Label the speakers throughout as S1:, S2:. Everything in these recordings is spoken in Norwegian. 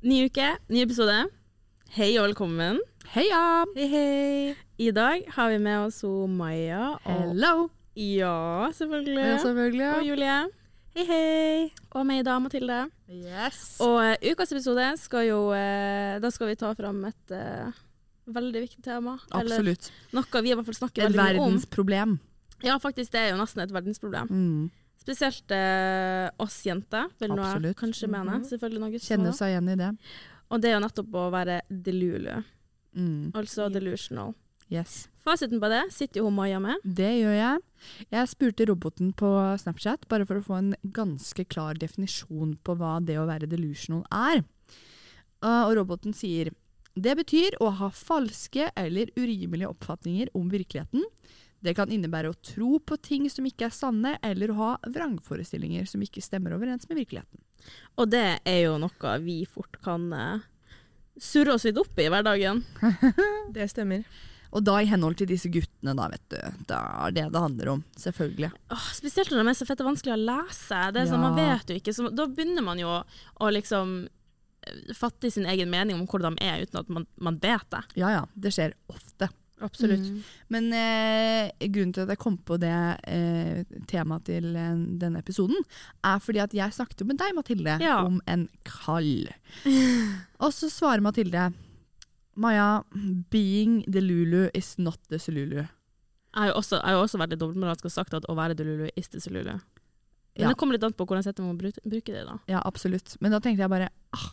S1: Ny uke, ny episode. Hei og velkommen.
S2: Heia!
S1: Hei, hei. I dag har vi med oss ho Maja og
S2: Hello!
S1: Ja, selvfølgelig.
S2: Ja, selvfølgelig.
S1: Og
S2: Ja.
S1: Julie.
S2: Hei, hei!
S1: Og meg i dag, Mathilde.
S2: Yes!
S1: Og eh, ukas episode skal jo eh, Da skal vi ta fram et eh, veldig viktig tema.
S2: Absolutt.
S1: Eller noe vi i hvert fall snakker
S2: Et
S1: veldig mye om.
S2: verdensproblem.
S1: Ja, faktisk, det er jo nesten et verdensproblem.
S2: Mm.
S1: Spesielt eh, oss jenter, vil nå jeg
S2: Absolutt. Mhm.
S1: kanskje mene. Selvfølgelig noen gutter som
S2: Kjenne
S1: også.
S2: seg igjen i det.
S1: Og det er jo nettopp å være delulu,
S2: Mm.
S1: altså delusional.
S2: Yes.
S1: Fasiten på det sitter jo hun Maja med.
S2: Det gjør jeg. Jeg spurte roboten på Snapchat bare for å få en ganske klar definisjon på hva det å være delusional er. Uh, Og roboten sier det betyr å ha falske eller urimelige oppfatninger om virkeligheten. Det kan innebære å tro på ting som ikke er sanne, eller å ha vrangforestillinger som ikke stemmer overens med virkeligheten.
S1: Og det er jo noe vi fort kan eh, surre oss litt opp i hverdagen.
S3: Det stemmer.
S2: Og da i henhold til disse guttene, da, vet du. Da er det det handler om, selvfølgelig.
S1: Åh, spesielt når de er så fette vanskelig å lese. Det er sånn,
S2: Ja.
S1: man vet jo ikke, så da begynner man jo å liksom eh, fatte sin egen mening om hvor de er, uten at man, man vet det.
S2: Ja ja, det skjer ofte.
S3: Absolutt.
S2: Mm. Men eh, grunnen til at jeg kom på det eh, temaet til eh, denne episoden, er fordi at jeg snakket jo med deg, Mathilde,
S1: Ja.
S2: om en kall. Og så svarer Mathilde Maja, being the Lulu is not the Sululu.
S1: Jeg har jo også, jeg har jo også vært litt dobbeltmoralsk og sagt at å være delulu is desilulu. Men
S2: Ja.
S1: det kommer litt an på hvordan jeg setter meg å bruke bruke det, da.
S2: Ja, absolutt. Men da tenkte jeg bare ah,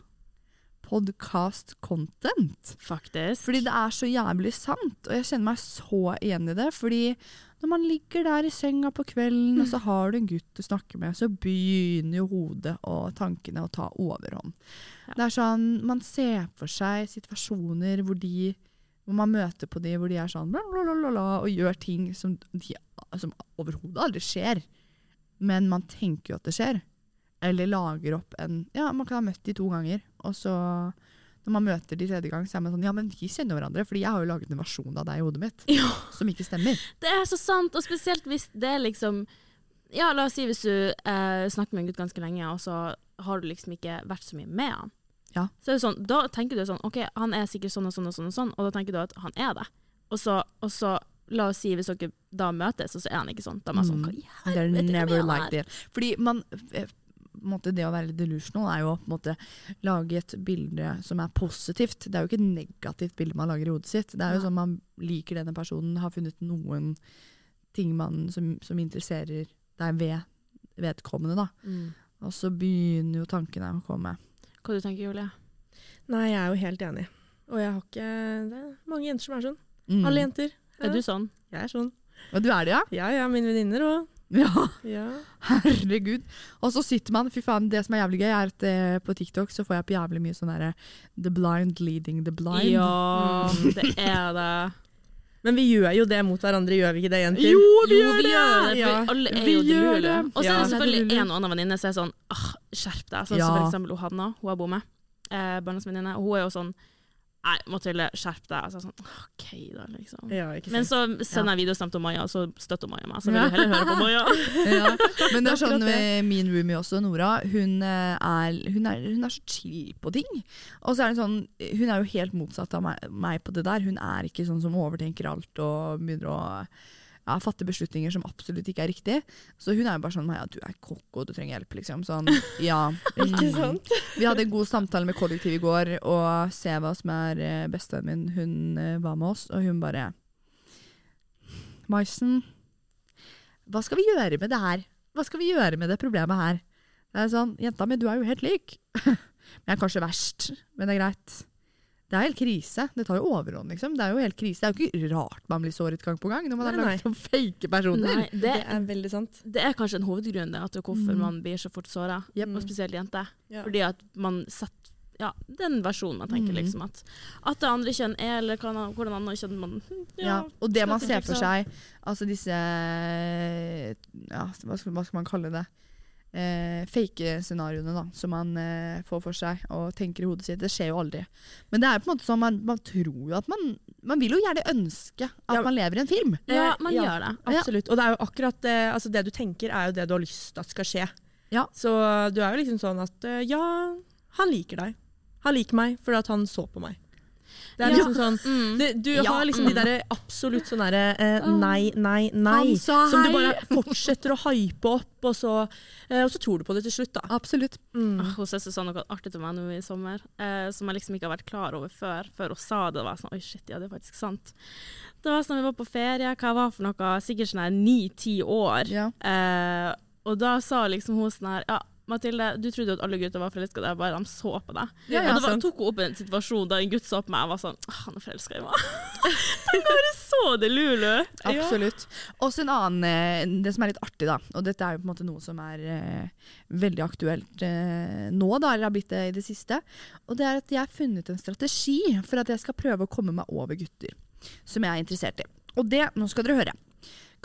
S2: podcast content.
S1: Faktisk.
S2: Fordi det er så jævlig sant, og jeg kjenner meg så igjen i det. Fordi når man ligger der i senga på kvelden, og så har du en gutt du snakker med, så begynner jo hodet og tankene å ta overhånd.
S1: Ja.
S2: Det er sånn, Man ser for seg situasjoner hvor de hvor man møter på de hvor de er sånn bla, bla, bla, bla, bla, og gjør ting som, de, som overhodet aldri skjer. Men man tenker jo at det skjer. Eller lager opp en Ja, man kan ha møtt de to ganger, og så når man møter de tredje gang, så er man sånn Ja, men vi kjenner hverandre, fordi jeg har jo laget en versjon av deg i hodet mitt
S1: Ja.
S2: som ikke stemmer.
S1: Det er så sant, og spesielt hvis det er liksom Ja, la oss si hvis du eh, snakker med en gutt ganske lenge, og så har du liksom ikke vært så mye med han.
S2: Ja.
S1: Så er det sånn, da tenker du sånn OK, han er sikkert sånn og sånn og sånn, og sånn, og da tenker du at han er det. Og så, og så la oss si hvis dere da møtes, og så er han ikke sånn. Da er man sånn
S2: Mm.
S1: Hva i
S2: They're
S1: helvete er
S2: never
S1: det
S2: like
S1: her?
S2: that. Fordi man eh, på en måte, Det å være delusional er jo å på en måte lage et bilde som er positivt. Det er jo ikke et negativt bilde man lager i hodet sitt. Det er jo
S1: Nei.
S2: sånn man liker denne personen, har funnet noen ting man, som, som interesserer deg ved vedkommende. da.
S1: Mm.
S2: Og så begynner jo tankene å komme.
S1: Hva du tenker du, Julie?
S3: Nei, jeg er jo helt enig. Og jeg har ikke Det er mange jenter som er sånn.
S2: Mm.
S3: Alle jenter. Ja.
S1: Er du sånn?
S3: Jeg er sånn.
S2: Og du er det, ja?
S3: Ja ja, mine venninner òg.
S2: Ja,
S3: Ja.
S2: herregud. Og så sitter man Fy faen, det som er jævlig gøy, er at eh, på TikTok så får jeg på jævlig mye sånn derre The blind leading the blind. Mm.
S1: Ja, det er det.
S3: Men vi gjør jo det mot hverandre, gjør vi ikke det, jenter?
S2: Jo,
S1: jo,
S2: vi gjør
S1: vi
S2: det!
S1: gjør det, for
S3: Ja.
S1: alle er
S2: Vi
S1: jo
S2: gjør
S1: delulu.
S2: det.
S1: Og så er
S3: Ja.
S1: det selvfølgelig en og annen venninne som er sånn ah, skjerp deg. Sånn som
S2: Ja.
S1: for eksempel hun Hanna, hun jeg bor med. Eh, Barndomsvenninne. Hun er jo sånn Nei, Mathilde, skjerp deg. Og så er jeg sånn OK, da, liksom.
S3: Ja, ikke
S1: Men
S3: sant.
S1: så sender jeg videosnap til Maja, og så støtter Maja meg. Så vil jeg heller høre på Maja.
S2: Ja. Men det er sånn
S3: akkurat det.
S2: eh, min roomie også, Nora, hun eh, er, hun, er, hun er så chill på ting. Og så er hun sånn, hun er jo helt motsatt av meg, meg på det der. Hun er ikke sånn som overtenker alt og begynner å ja, fatte beslutninger som absolutt ikke er riktig. Så hun er jo bare sånn Maja, du er kokko, du trenger hjelp, liksom. Sånn, ja.
S3: Ikke
S2: Mm.
S3: sant?
S2: Vi hadde en god samtale med kollektivet i går, og Seva, som er eh, bestevennen min, hun eh, var med oss, og hun bare Maisen, hva skal vi gjøre med det her? Hva skal vi gjøre med det problemet her? Det er sånn, Jenta mi, du er jo helt lik. Men jeg er kanskje verst, men det er greit. Det er helt krise. Det tar jo overhånd, liksom. Det er jo helt krise. Det er jo ikke rart man blir såret gang på gang når man
S3: Nei,
S2: er lagd som fake personer.
S1: Nei, det,
S3: Det er veldig sant.
S1: det er kanskje en hovedgrunn det, at hvorfor man blir så fort såra,
S2: Jep.
S1: og spesielt jenter.
S3: Mm. Ja.
S1: Fordi at man setter ja, den versjonen man tenker
S2: Mhm.
S1: liksom at At det andre kjønn er, eller kan, hvordan andre kjønn man
S2: Ja, og det man ser for
S1: seg
S2: seg, altså disse ja, hva, skal, hva skal man kalle det? Eh, fake scenarioene da, som man eh, får for seg og tenker i hodet sitt. Det skjer jo aldri. Men det er på en måte sånn, man, man tror jo at man Man vil jo gjerne ønske at
S3: Ja.
S2: man lever i en film.
S1: Ja,
S3: Ja,
S1: man
S3: ja.
S1: gjør det.
S3: Absolutt. Og det er jo akkurat det, altså det du tenker, er jo det du har lyst til at skal skje.
S2: Ja.
S3: Så du er jo liksom sånn at eh, ja, han liker deg. Han liker meg fordi at han så på meg. Det
S1: Ja.
S3: er liksom sånn
S1: Mm.
S3: det, Du
S2: Ja,
S3: har liksom de derre absolutt sånn derre eh, nei, nei, nei.
S2: Han sa
S3: Som du
S2: hei.
S3: bare fortsetter å hype opp, og så, eh, og så tror du på det til slutt,
S1: Ah.
S3: da.
S2: Absolutt.
S1: Åh, Hun søster sa sånn noe artig til meg nå i sommer, eh, som jeg liksom ikke har vært klar over før. Før hun sa det, var jeg sånn Oi, shit, ja, det er faktisk sant. Det var sånn vi var på ferie, hva var for noe, sikkert sånn her ni-ti år.
S2: Ja.
S1: Eh, og da sa liksom hun sånn her Ja, Mathilde, du trodde jo at alle gutter var forelska i deg, bare de så på deg.
S3: Ja, ja,
S1: og det var,
S3: sant.
S1: tok hun opp en situasjon der en gutt så på meg og var sånn «Åh, Han er forelska i meg. Jeg bare så det, Lulu.
S2: Absolutt. Også en annen, eh, det som er litt artig, da, og dette er jo på en måte noe som er eh, veldig aktuelt eh, nå, da, eller har blitt det i det siste, og det er at jeg har funnet en strategi for at jeg skal prøve å komme meg over gutter som jeg er interessert i. Og det, nå skal dere høre.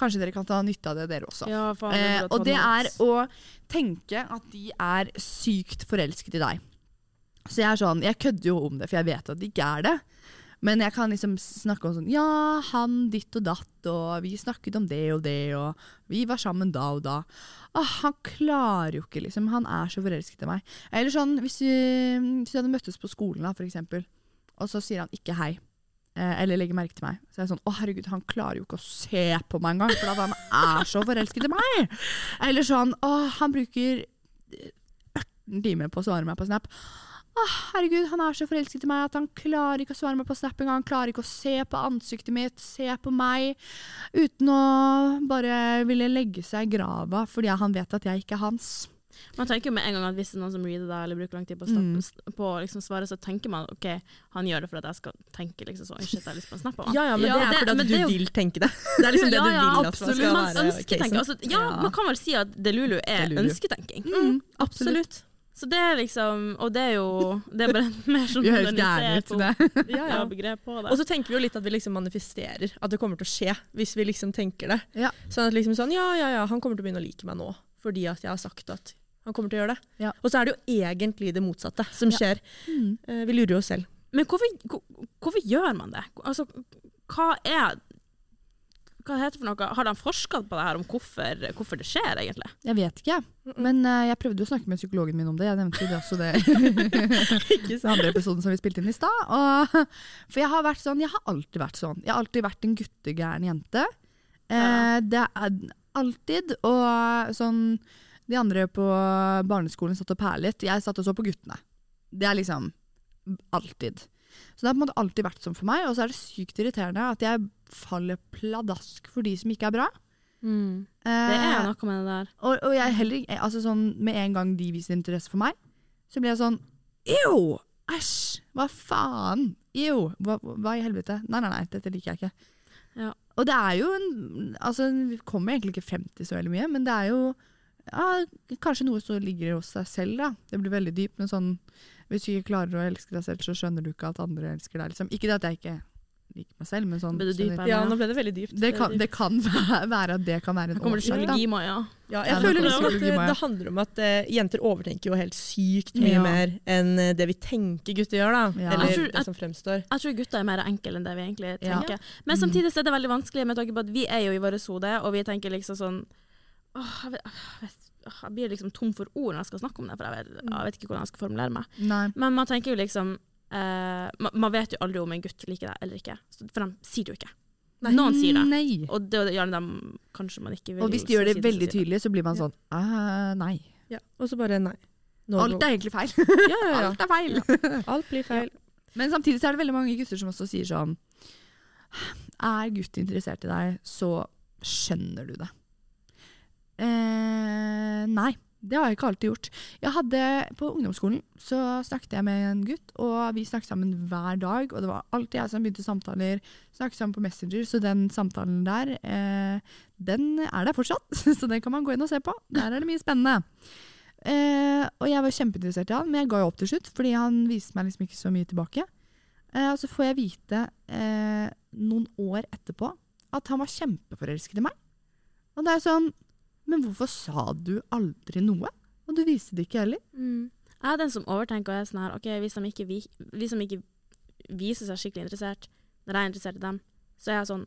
S2: Kanskje dere kan ta nytte av det, dere også.
S1: Ja, faen, jeg
S2: Eh,
S1: burde ha
S2: og
S1: tatt
S2: det er
S1: notes.
S2: å tenke at de er sykt forelsket i deg. Så jeg er sånn, jeg kødder jo om det, for jeg vet at de ikke er det. Men jeg kan liksom snakke om sånn Ja, han ditt og datt, og vi snakket om det og det, og vi var sammen da og da. Åh, han klarer jo ikke, liksom. Han er så forelsket i meg. Eller sånn, hvis vi, hvis vi hadde møttes på skolen, da, for eksempel, og så sier han ikke hei. eh, Eller legger merke til meg. Så er jeg sånn Å, herregud, han klarer jo ikke å se på meg engang, for at han er så forelsket i meg! Eller sånn Å, han bruker 18 timer på å svare meg på Snap. Å, herregud, han er så forelsket i meg at han klarer ikke å svare meg på Snap engang. Han klarer ikke å se på ansiktet mitt, se på meg, uten å bare ville legge seg i grava fordi han vet at jeg ikke er hans.
S1: Man tenker jo med en gang at hvis det er noen som reader deg eller bruker lang tid på å snakke-
S2: Mm.
S1: s- på å liksom svare, så tenker man ok, han gjør det for at jeg skal tenke liksom sånn, shit, jeg har lyst på en snap av han.
S3: Ja, ja, men
S1: Ja,
S3: det er
S1: det-
S3: fordi
S1: men
S3: at
S1: det er
S3: du
S1: jo-
S3: vil tenke det. Det er liksom det
S1: Ja,
S3: du
S1: ja,
S3: vil at man
S1: absolutt.
S3: skal
S1: Man
S3: være
S1: ønsketenker. Altså, ja,
S2: Ja.
S1: man kan vel si at delulu er
S2: Delulu.
S1: ønsketenking.
S2: Mm,
S3: Absolutt.
S1: Så det er liksom Og det er jo Det er bare mer sånn
S2: Vi høres gærne ut. det.
S1: Ja,
S3: Ja,
S1: ja.
S3: ja.
S1: begrep på det.
S3: Og så tenker vi jo litt at vi liksom manifesterer at det kommer til å skje, hvis vi liksom tenker det.
S2: Ja.
S3: Sånn at liksom sånn, ja, ja, ja, han kommer til å begynne å like meg nå, fordi at jeg har sagt at han kommer til å gjøre det.
S2: Ja.
S3: Og så er det jo egentlig det motsatte som
S2: Ja.
S3: skjer.
S2: Mm.
S3: Eh, Vi lurer jo oss selv.
S1: Men hvorfor, hvor- hvorfor gjør man det? Altså, hva er Hva heter det for noe? Har de forska på det her om hvorfor, hvorfor det skjer, egentlig?
S2: Jeg vet ikke, jeg. men eh, jeg prøvde jo å snakke med psykologen min om det. Jeg nevnte jo det også det
S3: Ikke
S2: i den andre episoden som vi spilte inn i stad. og- For jeg har vært sånn, jeg har alltid vært sånn. Jeg har alltid vært en guttegæren jente. Eh, det er alltid. Og sånn De andre på barneskolen satt og perlet. Jeg satt og så på guttene. Det er liksom alltid. Så det har på en måte alltid vært sånn for meg. Og så er det sykt irriterende at jeg faller pladask for de som ikke er bra.
S1: Mm. Det
S2: Eh,
S1: er noe med det der.
S2: og, og jeg heller ikke altså sånn, Med en gang de viser interesse for meg, så blir jeg sånn Jo! Æsj! Hva faen? Jo! Hva, hva i helvete? Nei, nei, nei, dette liker jeg ikke.
S1: Ja.
S2: Og det er jo en Altså, vi kommer egentlig ikke frem til så veldig mye, men det er jo ja, kanskje noe som ligger hos deg selv, da. Det blir veldig dypt, men sånn Hvis du ikke klarer å elske deg selv, så skjønner du ikke at andre elsker deg, liksom. Ikke det at jeg ikke liker meg selv, men sånn
S1: Ble det dypere?
S3: Ja, nå ble det veldig dypt.
S2: det kan, det kan være være at det kan være en
S1: Kommer det
S2: årsak, da.
S1: psykologi, Maja?
S3: Ja,
S2: Ja,
S3: jeg
S2: nå
S3: føler
S1: kommer
S3: liksom at
S2: psykologi,
S3: eh,
S2: Maja.
S3: det handler om at eh, jenter overtenker jo helt sykt mye
S2: Ja.
S3: mer enn eh, det vi tenker gutter gjør, da.
S2: Ja.
S3: Eller
S1: Jeg tror-
S3: det som fremstår.
S1: Jeg tror gutter er mer enkle enn det vi egentlig
S2: Ja. Mhm.
S1: tenker. Men samtidig så er det veldig vanskelig med tanke på at vi er jo i vårt hode, og vi tenker liksom sånn Åh, jeg, vet, jeg, vet, åh, jeg blir liksom tom for ord når jeg skal snakke om det, for jeg
S2: Mhm.
S1: vet, jeg vet ikke hvordan jeg skal formulere meg.
S2: Nei.
S1: Men man tenker jo liksom eh, man, man vet jo aldri om en gutt liker deg eller ikke, Så- for de sier det jo ikke. Noen sier det.
S2: Nei.
S1: Og det er gjerne dem kanskje man ikke vil
S2: Og hvis de gjør det
S1: si
S2: veldig
S1: så sier
S2: tydelig, så blir man
S3: Ja.
S2: sånn «Ah, Nei.
S3: Ja. Og så bare nei. No
S2: Alt
S3: go.
S2: er egentlig feil.
S3: ja, ja,
S2: Alt er feil.
S3: ja. Alt blir feil.
S2: Men samtidig så er det veldig mange gutter som også sier sånn Er gutt interessert i deg, så skjønner du det. Eh, nei. Det har jeg ikke alltid gjort. Jeg hadde, på ungdomsskolen så snakket jeg med en gutt, og vi snakket sammen hver dag. Og det var alltid jeg som begynte samtaler. Snakket sammen på Messenger, så den samtalen der, eh, den er der fortsatt. Så den kan man gå inn og se på. Der er det mye spennende. Eh, og jeg var kjempeinteressert i han, men jeg ga jo opp til slutt, fordi han viste meg liksom ikke så mye tilbake. Eh, og så får jeg vite eh, noen år etterpå at han var kjempeforelsket i meg. Og det er sånn Men hvorfor sa du aldri noe? Og du viste det ikke heller.
S1: Mm. Jeg er den som overtenker og er sånn her Ok, hvis de ikke, vi, hvis de ikke viser seg skikkelig interessert når jeg er interessert i dem, så er jeg sånn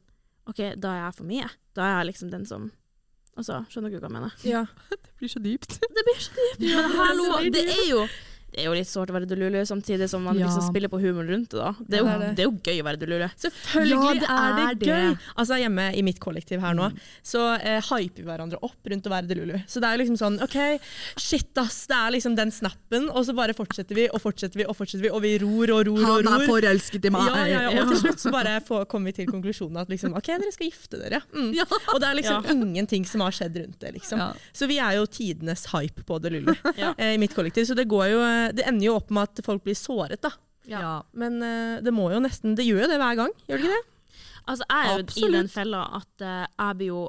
S1: OK, da er jeg for mye. Da er jeg liksom den som altså, Og så skjønner dere hva jeg mener.
S3: Ja.
S2: Det blir så dypt.
S1: Men hallo, det er jo det er jo litt sårt å være delulu, samtidig som man
S2: Ja.
S1: liksom spiller på humoren rundt det. da. Det er jo,
S3: Ja, det er det.
S1: det er jo gøy å være delulu.
S3: Selvfølgelig
S2: Ja, det
S3: er,
S2: er
S3: det
S2: det.
S3: gøy! Altså Hjemme i mitt kollektiv her nå, så eh, hyper vi hverandre opp rundt å være Delulu. Så det er jo liksom sånn OK, shit ass, det er liksom den snappen, og så bare fortsetter vi og fortsetter vi og fortsetter vi, og vi ror og ror og
S2: Han er
S3: ror.
S2: forelsket i meg!
S3: Ja, ja, ja, og til slutt så bare får- kommer vi til konklusjonen at liksom, OK, dere skal gifte dere. Mm.
S2: Ja.
S3: Og det er liksom
S1: Ja.
S3: ingenting som har skjedd rundt det, liksom.
S2: Ja.
S3: Så vi er jo tidenes hype på Delulu
S1: Ja.
S3: eh, i mitt kollektiv. Så det, går jo, eh, det ender jo opp med at folk blir såret, da.
S2: Ja.
S3: Men eh, det må jo nesten Det gjør jo det hver gang, gjør det ikke det?
S1: Altså, jeg er jo
S3: Absolutt.
S1: i den fella at eh, jeg blir jo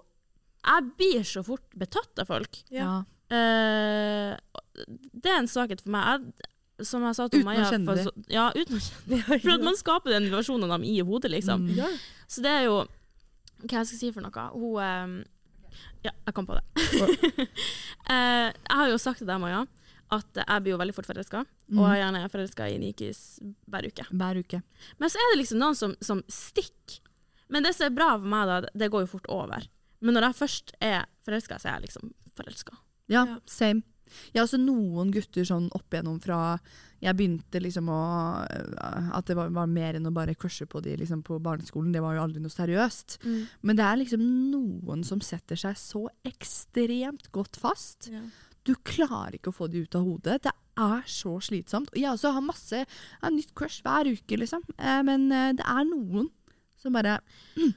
S1: Jeg blir så fort betatt av folk.
S2: Ja.
S1: Eh, det er en svakhet for meg. Jeg, som jeg sa til
S2: Uten å
S1: Maja
S2: kjenne
S1: for
S2: det.
S1: så- Ja, uten å kjenne For at man skaper den versjonen av dem i hodet, liksom.
S2: Mm.
S3: Ja.
S1: Så det er jo Hva jeg skal si for noe? Hun ehm, Ja, jeg kom på det. Eh, jeg har jo sagt til deg, Maja, at jeg blir jo veldig fort forelska. Og
S2: Mm.
S1: jeg gjerne er forelska i Nikis hver uke.
S2: Hver uke.
S1: Men så er det liksom noen som, som stikker. Men det som er bra for meg, da, det går jo fort over. Men når jeg først er forelska, så er jeg liksom forelska.
S2: Ja,
S3: Ja.
S2: same. Jeg har også noen gutter sånn opp igjennom fra Jeg begynte liksom å eh, At det var, var mer enn å bare crushe på de liksom på barneskolen. Det var jo aldri noe seriøst.
S1: Mm.
S2: Men det er liksom noen som setter seg så ekstremt godt fast.
S3: Ja.
S2: Du klarer ikke å få de ut av hodet. Det er så slitsomt. Og jeg også har masse jeg har nytt crush hver uke, liksom. Eh, Men eh, det er noen som bare mm,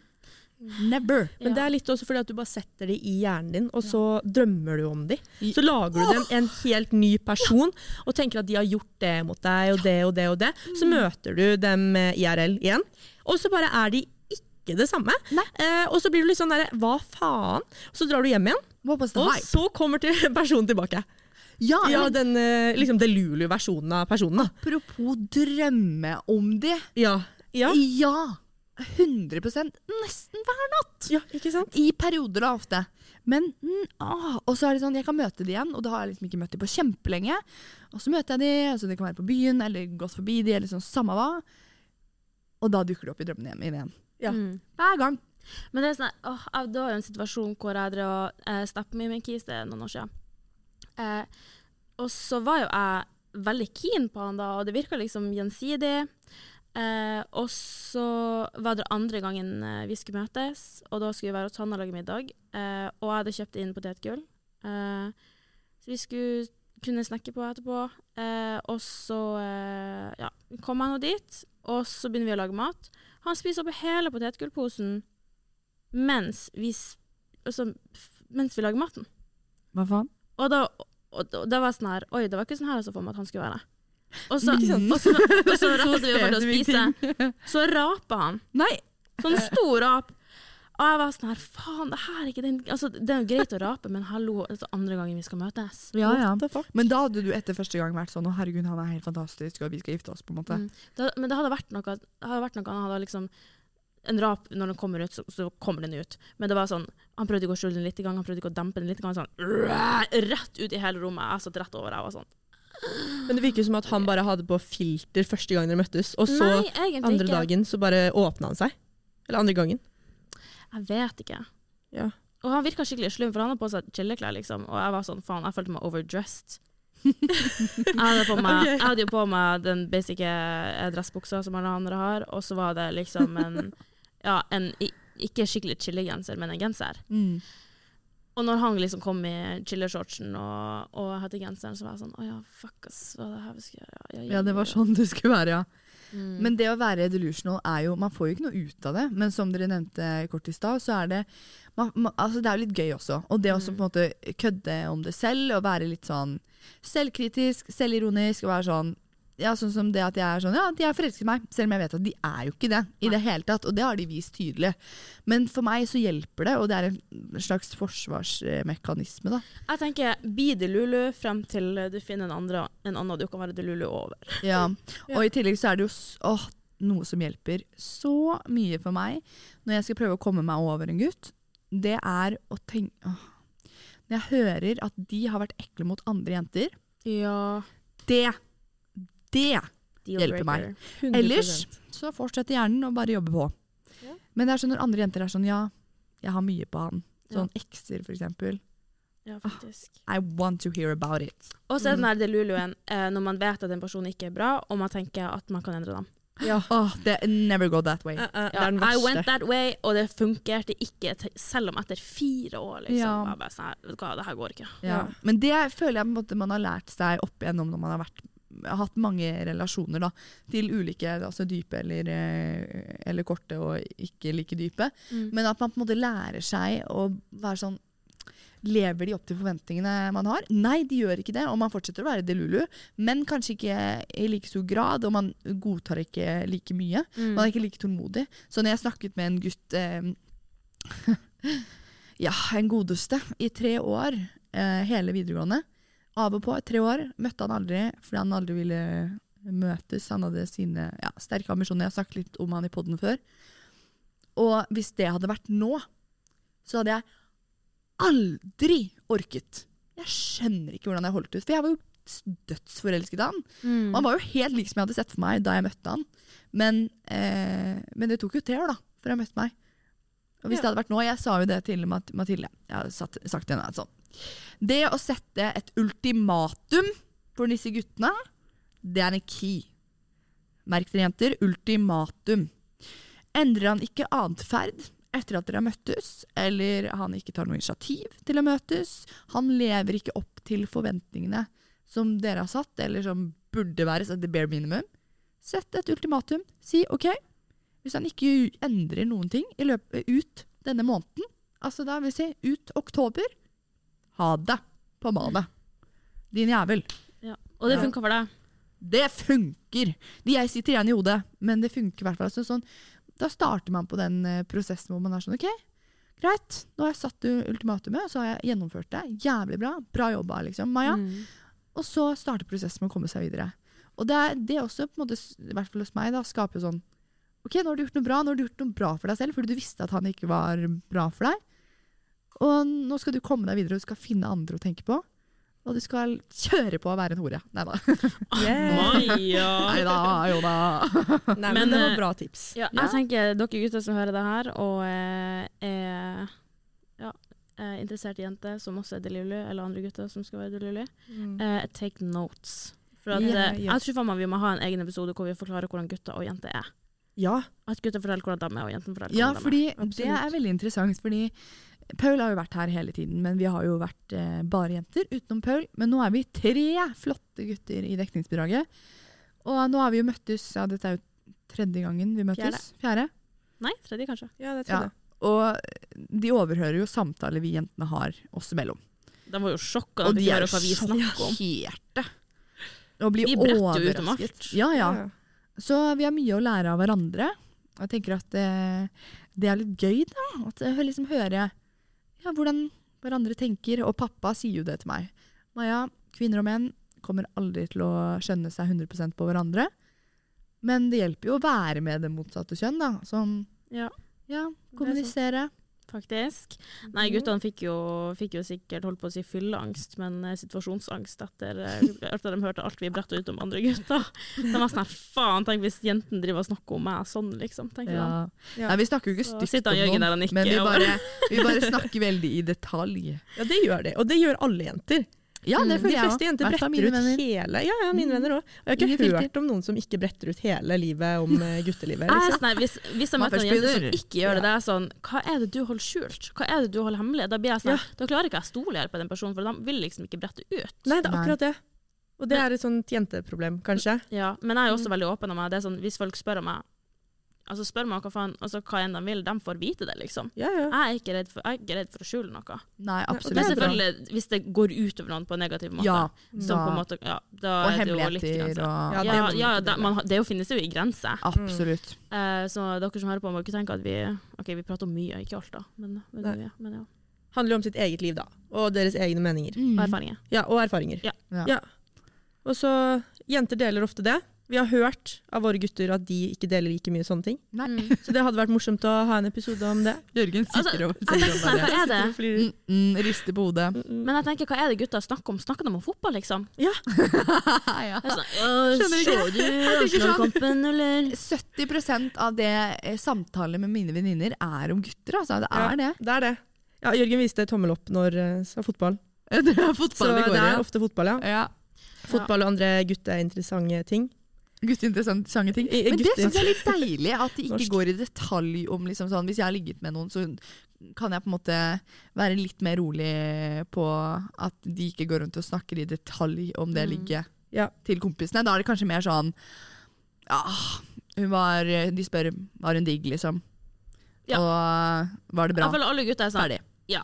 S2: Never.
S3: Men det er litt også fordi at du bare setter de i hjernen din, og så drømmer du om de.
S2: I-
S3: Så lager du dem en helt ny person, og tenker at de har gjort det mot deg, og det og det og det. Så møter du dem eh, IRL igjen, og så bare er de ikke det samme.
S2: Nei.
S3: Eh, og så blir du litt sånn derre hva faen? Og så drar du hjem igjen,
S2: What was the
S3: og
S2: hype?
S3: så kommer til personen tilbake.
S2: Ja,
S3: Ja,
S2: men
S3: den eh, liksom delulu-versjonen av personen, da.
S2: apropos drømme om det.
S3: Ja. Ja.
S2: Ja! 100 Nesten hver natt.
S3: ja, ikke sant?
S2: I perioder da, ofte. Men mm, ah, Og så er det sånn, jeg kan møte de igjen, og da har jeg liksom ikke møtt de på kjempelenge. Og så møter jeg de, altså det kan være på byen eller gått forbi de, eller sånn samme hva. Og da dukker de opp i drømmene igjen- mine igjen.
S3: Ja.
S1: Mm.
S2: Hver gang.
S1: Men det er sånn, her, åh, jeg- det var jo en situasjon hvor jeg drev og eh, stappet meg i min kis, det er noen år siden. Eh, og så var jo jeg veldig keen på han da, og det virket liksom gjensidig. Eh, og så var det andre gangen eh, vi skulle møtes, og da skulle vi være hos han og lage middag. Eh, og jeg hadde kjøpt inn potetgull. Eh, så vi skulle kunne snakke på etterpå. Eh, og så eh, ja, kom han nå dit, og så begynner vi å lage mat. Han spiser opp hele potetgullposen mens vi, s- altså, f- mens vi lager maten.
S2: Hva faen?
S1: Og da, og, og da var jeg sånn her Oi, det var ikke sånn her jeg så for meg at han skulle være. Og så,
S2: Ikke sant?
S1: og så, og så rakk vi jo for å
S2: spesifikk
S1: spise. Så rapa han.
S2: Nei!
S1: Sånn stor rap. Og jeg var sånn her Faen, det her er ikke den altså, Det er jo greit å rape, men hallo, det er andre gangen vi skal møtes.
S2: Ja, ja.
S3: What the fuck?
S2: Men da hadde du etter første gang vært sånn 'Å, herregud, han er helt fantastisk, og vi skal gifte oss', på en måte.
S1: Mm. Det, men det hadde vært noe, det hadde vært noe han hadde liksom en rap, Når den kommer ut, så, så kommer den ut. Men det var sånn, han prøvde ikke å skjule den litt, i gang, han prøvde ikke å dempe den litt. i gang, Sånn, rett ut i hele rommet. Jeg satt rett over. Jeg var sånn.
S3: Men det virker som at han bare hadde på filter første gang dere møttes, og så
S1: Nei, egentlig
S3: andre
S1: ikke.
S3: dagen så bare åpna han seg. Eller andre gangen.
S1: Jeg vet ikke.
S3: Ja.
S1: Og han virka skikkelig slum, for han hadde på seg chilleklær, liksom. Og jeg var sånn, faen, jeg følte meg overdressed. jeg, hadde på meg, jeg hadde jo på meg den basic eh, dressbuksa som alle andre har, og så var det liksom en, ja, en i- ikke skikkelig chillegenser, men en genser.
S2: Mm.
S1: Og når han liksom kom i chillershortsen og, og hettegenseren, så var jeg sånn Å ja, fuck, ass, hva er det her vi skal gjøre? Ja,
S2: Ja, det var sånn det skulle være, ja.
S1: Mm.
S2: Men det å være delusional er jo Man får jo ikke noe ut av det, men som dere nevnte kort i stad, så er det man, man, altså Det er jo litt gøy også. Og det å også på en måte kødde om det selv og være litt sånn selvkritisk, selvironisk og være sånn ja, sånn som det at jeg er sånn, ja, de er forelsket i meg, selv om jeg vet at de er jo ikke det. i det hele tatt, Og det har de vist tydelig. Men for meg så hjelper det, og det er en slags forsvarsmekanisme. da.
S1: Jeg tenker bli det Lulu frem til du finner en, andre, en annen du kan være det Lulu over.
S2: Ja.
S3: Ja.
S2: Og i tillegg så er det jo s- åh, noe som hjelper så mye for meg når jeg skal prøve å komme meg over en gutt. Det er å tenke åh. Når jeg hører at de har vært ekle mot andre jenter,
S1: Ja,
S2: det, det Hjelper meg. Ellers så fortsetter hjernen å bare jobbe på.
S3: Ja.
S2: Men det er sånn når andre jenter er sånn ja, jeg har mye på han. Sånn ekser, for eksempel.
S1: Ja, faktisk.
S2: I want to hear about it.
S1: Og så er den der deluluen eh, når man vet at en person ikke er bra, og man tenker at man kan endre dem.
S3: Ja.
S2: Åh, det never go that way.
S3: Eh, eh, det
S1: Ja,
S3: er den
S1: I went
S3: verste.
S1: that way, og det funkerte ikke, te- selv om etter fire år, liksom.
S2: Ja.
S1: var jeg Bare sånn her, vet du hva, det her går ikke.
S2: Ja. Men det føler jeg på en måte man har lært seg opp igjennom når man har vært, hatt mange relasjoner da, til ulike altså dype eller, eh, eller korte og ikke like dype.
S1: Mm.
S2: Men at man på en måte lærer seg å være sånn Lever de opp til forventningene man har? Nei, de gjør ikke det, og man fortsetter å være delulu. Men kanskje ikke i like stor grad, og man godtar ikke like mye.
S1: Mm.
S2: Man er ikke like tålmodig. Så når jeg snakket med en gutt eh, Ja, en godeste i tre år, eh, hele videregående. Av og på, tre år. Møtte han aldri fordi han aldri ville møtes. Han hadde sine ja, sterke ambisjoner. Jeg har snakket litt om han i poden før. Og hvis det hadde vært nå, så hadde jeg aldri orket. Jeg skjønner ikke hvordan jeg holdt ut. For jeg var jo dødsforelsket i han.
S1: Mm.
S2: Og Han var jo helt lik som jeg hadde sett for meg da jeg møtte han. Men, eh, men det tok jo tre år da, før han møtte meg. Og hvis det hadde vært nå, jeg sa jo det til Mat Mathilde. Jeg har satt, sagt til henne at sånn. Det å sette et ultimatum for disse guttene, det er en key. Merk dere jenter, ultimatum. Endrer han ikke atferd etter at dere har møttes, eller han ikke tar noe initiativ til å møtes, han lever ikke opp til forventningene som dere har satt, eller som burde være satt til bare minimum, sett et ultimatum. Si OK, hvis han ikke endrer noen ting i løpet, ut denne måneden, altså da vil si ut oktober, ha det på badet. Din jævel.
S1: Ja. Og det
S2: Ja.
S1: funka for deg.
S2: Det funker! De jeg sitter igjen i hodet, men det funker i hvert fall. Altså, sånn, da starter man på den eh, prosessen hvor man er sånn OK, greit. Nå har jeg satt u- ultimatumet, og så har jeg gjennomført det. Jævlig bra. Bra jobba, liksom. Maja.
S1: Mm.
S2: Og så starter prosessen med å komme seg videre. Og det er det er også, på en måte, s- i hvert fall hos meg, da, skaper jo sånn Ok, nå har du gjort noe bra, nå har du gjort noe bra for deg selv, fordi du visste at han ikke var bra for deg. Og nå skal du komme deg videre, og du skal finne andre å tenke på. Og du skal kjøre på å være en hore. Nei da.
S3: Yeah.
S1: Maja!
S2: Nei da, jo da.
S3: Nei,
S1: Men,
S3: men det
S1: eh,
S3: var bra tips.
S1: Ja, jeg
S2: Ja.
S1: tenker dere gutter som hører det her, og eh, er ja, er interessert i jenter som også er delulu, eller andre gutter som skal være delulu,
S3: Mm.
S1: eh, take notes. For at,
S2: Ja,
S1: eh,
S2: ja.
S1: Jeg tror faen meg vi må ha en egen episode hvor vi forklarer hvordan gutter og jenter er.
S3: Ja.
S1: At gutter forteller hvordan de er, og jentene forteller
S2: Ja,
S1: hvordan de er.
S2: fordi det er veldig interessant. Fordi Paul har jo vært her hele tiden, men vi har jo vært eh, bare jenter utenom Paul. Men nå er vi tre flotte gutter i dekningsbidraget. Og nå har vi jo møttes, ja dette er jo tredje gangen vi møttes. Fjerde.
S1: Nei, tredje kanskje.
S3: ja, det
S2: Ja.
S3: trodde jeg.
S2: Og de overhører jo samtaler vi jentene har oss imellom.
S1: De var jo sjokka da de hører hva vi snakker om.
S2: sjokkerte. Og blir
S1: Vi bretter jo ut om
S2: overrasket.
S1: alt.
S2: Ja, ja.
S3: Ja.
S2: Så vi har mye å lære av hverandre. Og jeg tenker at eh, det er litt gøy, da. At jeg hø- liksom hører ja, hvordan hverandre tenker. Og pappa sier jo det til meg. Maja, kvinner og menn kommer aldri til å skjønne seg 100 på hverandre. Men det hjelper jo å være med det motsatte kjønn, da. Som
S1: Ja.
S2: ja kommunisere.
S1: Faktisk. Nei, guttene fikk jo, fikk jo sikkert holdt på å si fylleangst, men eh, situasjonsangst etter, eh, etter de hørte alt vi bretta ut om andre gutter. De var sånn her, faen, tenk hvis jentene driver og snakker om meg sånn, liksom. tenkte de.
S2: Ja.
S3: Ja.
S2: Nei, vi snakker jo ikke
S1: Så
S2: stygt
S1: sitter
S2: om
S1: han Jørgen
S2: noen,
S1: der og nikker
S2: men vi
S1: og
S2: bare, vi bare snakker veldig i detalj.
S3: Ja, det gjør de. Og det gjør alle jenter.
S2: Ja, det
S3: Mm. De
S2: føler jeg
S3: fleste
S2: også.
S3: jenter
S2: Hvert fall
S3: bretter
S2: mine
S3: ut
S2: venner.
S3: hele Ja, ja, mine venner òg. Jeg har
S2: Ingen
S3: ikke
S2: filter.
S3: hørt om noen som ikke bretter ut hele livet om eh, guttelivet.
S1: Jeg er
S3: Liksom.
S1: sånn her, hvis, hvis jeg
S2: Man
S1: møter en
S2: først
S1: jente som
S2: begynner.
S1: ikke gjør det, det er sånn Hva er det du holder skjult? Hva er det du holder hemmelig? Da blir jeg sånn, her, da klarer ikke jeg å stole her på den personen, for de vil liksom ikke brette ut.
S3: Nei, det er akkurat det. Og det er et sånt jenteproblem, kanskje.
S1: Ja, men jeg er jo også veldig åpen om meg. Det er sånn, hvis folk spør om meg Altså spør meg hva faen, altså hva enn de vil, de får vite det, liksom.
S3: Ja, ja.
S1: Jeg er ikke redd for, jeg er ikke redd for å skjule noe.
S2: Nei,
S1: Men
S3: og
S2: absolutt.
S3: det er bra.
S1: selvfølgelig, hvis det går utover noen på en negativ måte.
S2: Ja,
S1: som på en
S2: da-
S1: måte, ja, da er
S2: og
S1: det jo litt
S2: hemmeligheter
S1: grenser.
S2: og
S1: Ja,
S3: det
S1: ja,
S3: må man ikke
S1: det, man, har- det jo finnes jo i grenser.
S2: Absolutt.
S1: Eh, så dere som hører på, må ikke tenke at vi Ok, vi prater om mye, ikke alt, da. Men, men,
S3: Nei.
S1: mye, men ja.
S3: Handler jo om sitt eget liv, da. Og deres egne meninger.
S1: Og
S2: Mm.
S1: erfaringer.
S3: Ja, og erfaringer.
S1: Ja.
S2: Ja.
S3: Og så Jenter deler ofte det. Vi har hørt av våre gutter at de ikke deler like mye sånne ting.
S2: Nei.
S1: Mm.
S3: Så det hadde vært morsomt å ha en episode om det.
S2: Jørgen
S1: Altså,
S2: sitter og
S1: Jeg tenker sånn, her, hva er det?
S2: Mm, mm, rister på hodet.
S1: Men jeg tenker, hva er det gutta snakker om? Snakker de om fotball, liksom?
S2: ja.
S1: Jeg er sånn, «Åh,
S2: Skjønner ikke.
S1: Så du
S2: Jeg tenker sånn.
S1: Arsenal-kampen, eller?
S2: 70 av det eh, samtaler med mine venninner er om gutter, altså. Det
S3: Ja.
S2: er det.
S3: Det er det. Ja, Jørgen viste tommel opp når eh, sa fotball.
S2: Det er
S3: Så
S2: fotball det
S3: det
S2: går i.
S3: er ofte fotball, ja.
S2: Ja.
S3: Fotball og andre gutteinteressante ting.
S2: Gutteinteressante ting.
S3: I-
S2: Men det
S3: gutter-
S2: syns jeg er litt deilig, at de ikke
S3: Norsk.
S2: går i detalj om liksom sånn Hvis jeg har ligget med noen, så kan jeg på en måte være litt mer rolig på at de ikke går rundt og snakker i detalj om det ligget
S3: Ja.
S2: til kompisene. Da er det kanskje mer sånn Ja, hun var De spør var hun digg, liksom.
S1: Ja.
S2: Og eh, var det bra?
S1: Jeg føler alle gutter er sånn.
S2: Ferdig.
S1: Ja.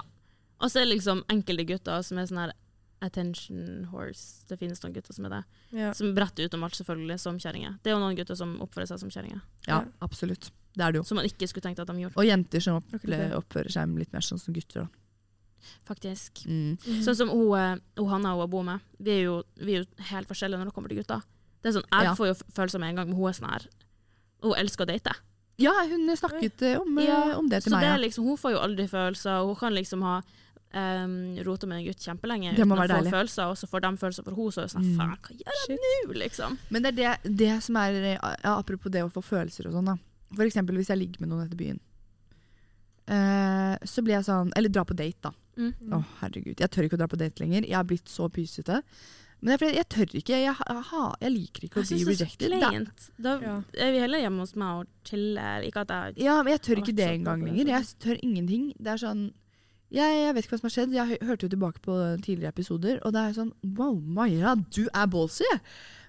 S1: Og så er det liksom enkelte gutter som er sånn her attention horse. Det finnes noen gutter som er det.
S3: Ja.
S1: Som bretter ut om alt, selvfølgelig, som kjerringer. Det er jo noen gutter som oppfører seg som kjerringer.
S2: Ja, absolutt. Det er det jo.
S1: Som man ikke skulle tenkt at de gjorde,
S2: Og jenter som
S3: Akkurat
S2: opple-
S3: det.
S2: oppfører seg litt mer sånn som gutter. Da.
S1: faktisk.
S2: Mm.
S1: Sånn som hun, eh, hun Hanna hun bor med. Vi er, jo, vi er jo helt forskjellige når det kommer til gutter. Det er sånn, Jeg
S2: Ja.
S1: får jo f- følelser med en gang, men hun er sånn her. Hun elsker å date.
S2: Ja, hun snakket eh, om, eh,
S1: Ja,
S2: om det til
S1: Så
S2: meg.
S1: det
S2: ja.
S1: er liksom, hun får jo aldri følelser. Hun kan liksom ha um, rota med en gutt kjempelenge
S2: Det må
S1: uten å
S2: være
S1: få
S2: deilig. Mm.
S1: følelser, og så får de følelser for henne, så er hun sånn Faen, hva gjør jeg nå, liksom?
S2: Men det er det, det som er eh, ja, Apropos det å få følelser og sånn, da. For eksempel hvis jeg ligger med noen etter byen. Eh, så blir jeg sånn Eller dra på date, da. Å,
S1: Mm.
S2: herregud. Jeg tør ikke å dra på date lenger. Jeg har blitt så pysete. Men det er fordi jeg tør ikke. Jeg, ha- jeg, ha- jeg liker ikke å
S1: Jeg
S2: bli
S1: syns det er så
S2: rejected. Da,
S1: kleint. Da
S3: Ja.
S1: er vi heller hjemme hos meg og chiller. Ikke at jeg
S2: ja, men
S1: Jeg
S2: jeg tør
S1: har vært
S2: ikke det
S1: så på
S2: engang
S1: det,
S2: lenger. Jeg tør ingenting. Det er sånn jeg, jeg vet ikke hva som har skjedd. Jeg hø- hørte jo tilbake på eh, tidligere episoder, og det er sånn Wow, Maja, du er ballsy!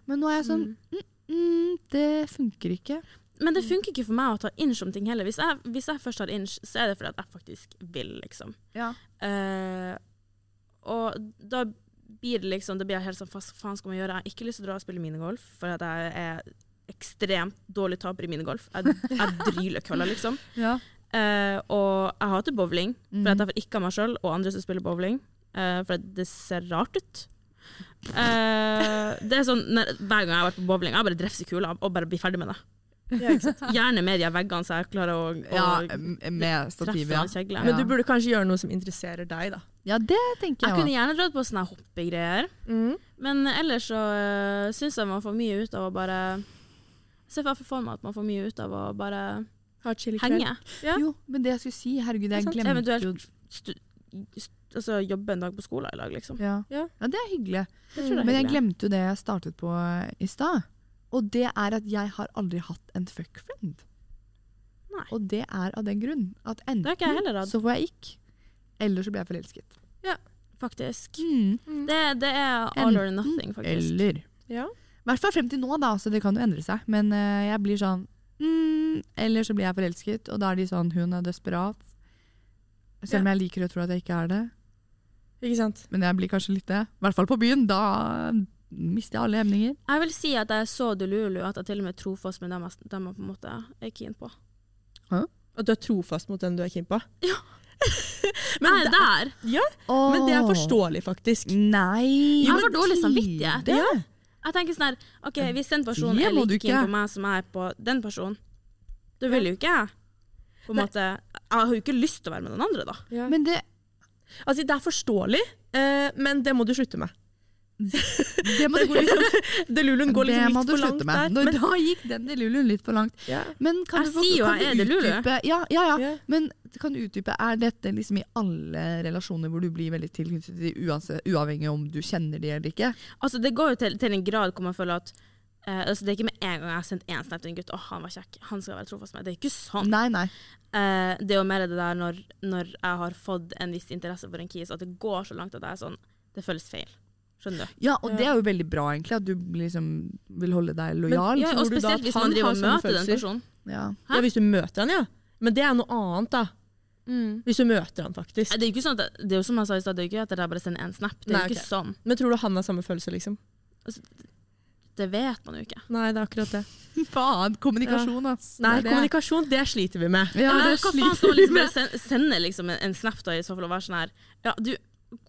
S2: Men nå er jeg sånn mm, mm, Det funker ikke.
S1: Men det funker ikke for meg å ta inch om ting heller. Hvis jeg, hvis jeg først tar inch, så er det fordi at jeg faktisk vil, liksom.
S2: Ja.
S1: Eh, og da blir det liksom Det blir jeg helt sånn Hva faen skal man gjøre? Jeg har ikke lyst til å dra og spille minigolf, for at jeg er ekstremt dårlig taper i minigolf. Jeg, jeg dryler kølla, liksom.
S2: Ja.
S1: Eh, og jeg hater bowling,
S2: Mhm.
S1: for at jeg får ikke av meg sjøl og andre som spiller bowling. eh, for at det ser rart ut. Eh, det er sånn, når, Hver gang jeg har vært på bowling, jeg bare drefser kula og bare blir ferdig med det. Gjerne mer i veggene, så jeg klarer å, å
S2: Ja, m-
S1: eh,
S2: med stativ,
S1: treffe
S2: ja.
S1: en kjegle.
S3: Men du burde kanskje gjøre noe som interesserer deg, da.
S2: Ja, det tenker
S1: Jeg
S2: jeg
S1: kunne
S2: også.
S1: gjerne dratt på sånne her hoppegreier,
S3: Mm.
S1: men ellers så uh, syns jeg man får mye ut av å bare Se for for meg at man får mye ut av å bare
S3: Ha et chill kveld.
S1: henge.
S3: Ja.
S2: Jo, men det jeg skulle si, herregud, jeg
S3: sant.
S2: glemte jo
S1: Eventuelt stu, st, altså, jobbe en dag på skolen i lag, liksom.
S2: ja.
S3: Ja.
S2: ja, det er hyggelig.
S1: Det tror jeg er
S2: Men jeg
S1: hyggelig.
S2: glemte jo det jeg startet på eh, i stad. Og det er at jeg har aldri hatt en fuck friend.
S1: Nei.
S2: Og det er av den grunn at enten
S1: har ikke jeg heller hatt.
S2: så får jeg ikk, eller så blir jeg forelsket.
S1: Faktisk.
S2: Mm.
S1: Det, det er all or nothing, faktisk.
S2: Eller.
S3: Ja.
S2: I hvert fall frem til nå, da, så det kan jo endre seg. Men eh, jeg blir sånn mm, Eller så blir jeg forelsket, og da er de sånn Hun er desperat. Selv om jeg liker å tro at jeg ikke er det.
S3: Ikke sant?
S2: Men jeg blir kanskje litt det. I hvert fall på byen. Da mister jeg alle hemninger.
S1: Jeg vil si at jeg er så delulu at jeg til og med er trofast med dem jeg, dem jeg på en måte er keen på.
S3: At du er trofast mot den du er keen på.
S1: Men jeg er der!
S3: Men det er forståelig, faktisk.
S2: Nei!
S1: Jeg har for dårlig samvittighet.
S2: Ja.
S1: Jeg tenker sånn her, ok, Hvis den personen
S2: Det
S1: er
S2: må du
S1: like keen
S2: ikke.
S1: på meg som jeg er på den personen, da vil jo ikke jeg på en
S3: Nei.
S1: måte, Jeg har jo ikke lyst til å være med den andre, da.
S3: Men,
S2: Men det,
S3: altså, det er forståelig, eh, men det må du slutte med.
S2: det må du gå litt,
S3: Deluluen går
S2: det
S3: liksom
S2: må
S3: litt
S2: du
S3: for langt
S2: slutte med.
S3: der.
S2: Nå- Da gikk den i luluen litt for langt.
S3: ja.
S2: Men kan
S1: Jeg
S2: du, få-
S1: sier jo
S2: kan
S1: jeg
S2: du
S1: er det lulu.
S2: utdype ja, ja, ja.
S3: Ja.
S2: Men kan du utdype, er dette liksom i alle relasjoner hvor du blir veldig tilknyttet til de, uanse- uavhengig om du kjenner de eller ikke?
S1: Altså, Det går jo til, til en grad hvor man føler at eh, altså, Det er ikke med en gang jeg har sendt én snap til en gutt å, han var kjekk, han skal være trofast med meg. Det er ikke sånn.
S2: Nei, nei.
S1: Eh, det er jo mer det der når, når jeg har fått en viss interesse for en kis, at det går så langt at jeg er sånn Det føles feil. Skjønner du?
S2: Ja, og det er jo veldig bra egentlig, at du liksom vil holde deg lojal.
S1: ja, og
S3: tror du da at
S1: spesielt hvis
S3: han
S1: man driver
S3: har
S1: og
S3: sånne
S1: møter den
S3: følelser?
S1: personen.
S2: ja.
S3: ja, hvis du møter han, ja. Men det er noe annet, da. Hvis du møter han, faktisk.
S1: Det er jo ikke sånn at, det er jo som jeg sa i stad, det er jo ikke at jeg bare sender en snap. Det er
S3: Nei,
S1: jo ikke
S3: ok.
S1: sånn.
S3: Men tror du han har samme følelse, liksom?
S1: Det vet man jo ikke.
S3: Nei, det er akkurat det.
S2: Faen, kommunikasjon, ass.
S3: Nei,
S2: Det er det.
S3: kommunikasjon, det sliter vi med.
S2: Ja,
S1: Men
S2: det
S1: Eh, hva faen
S2: sliter
S1: skal man liksom bare sende, sende liksom en, en snap da, i så fall og være sånn her ja, du,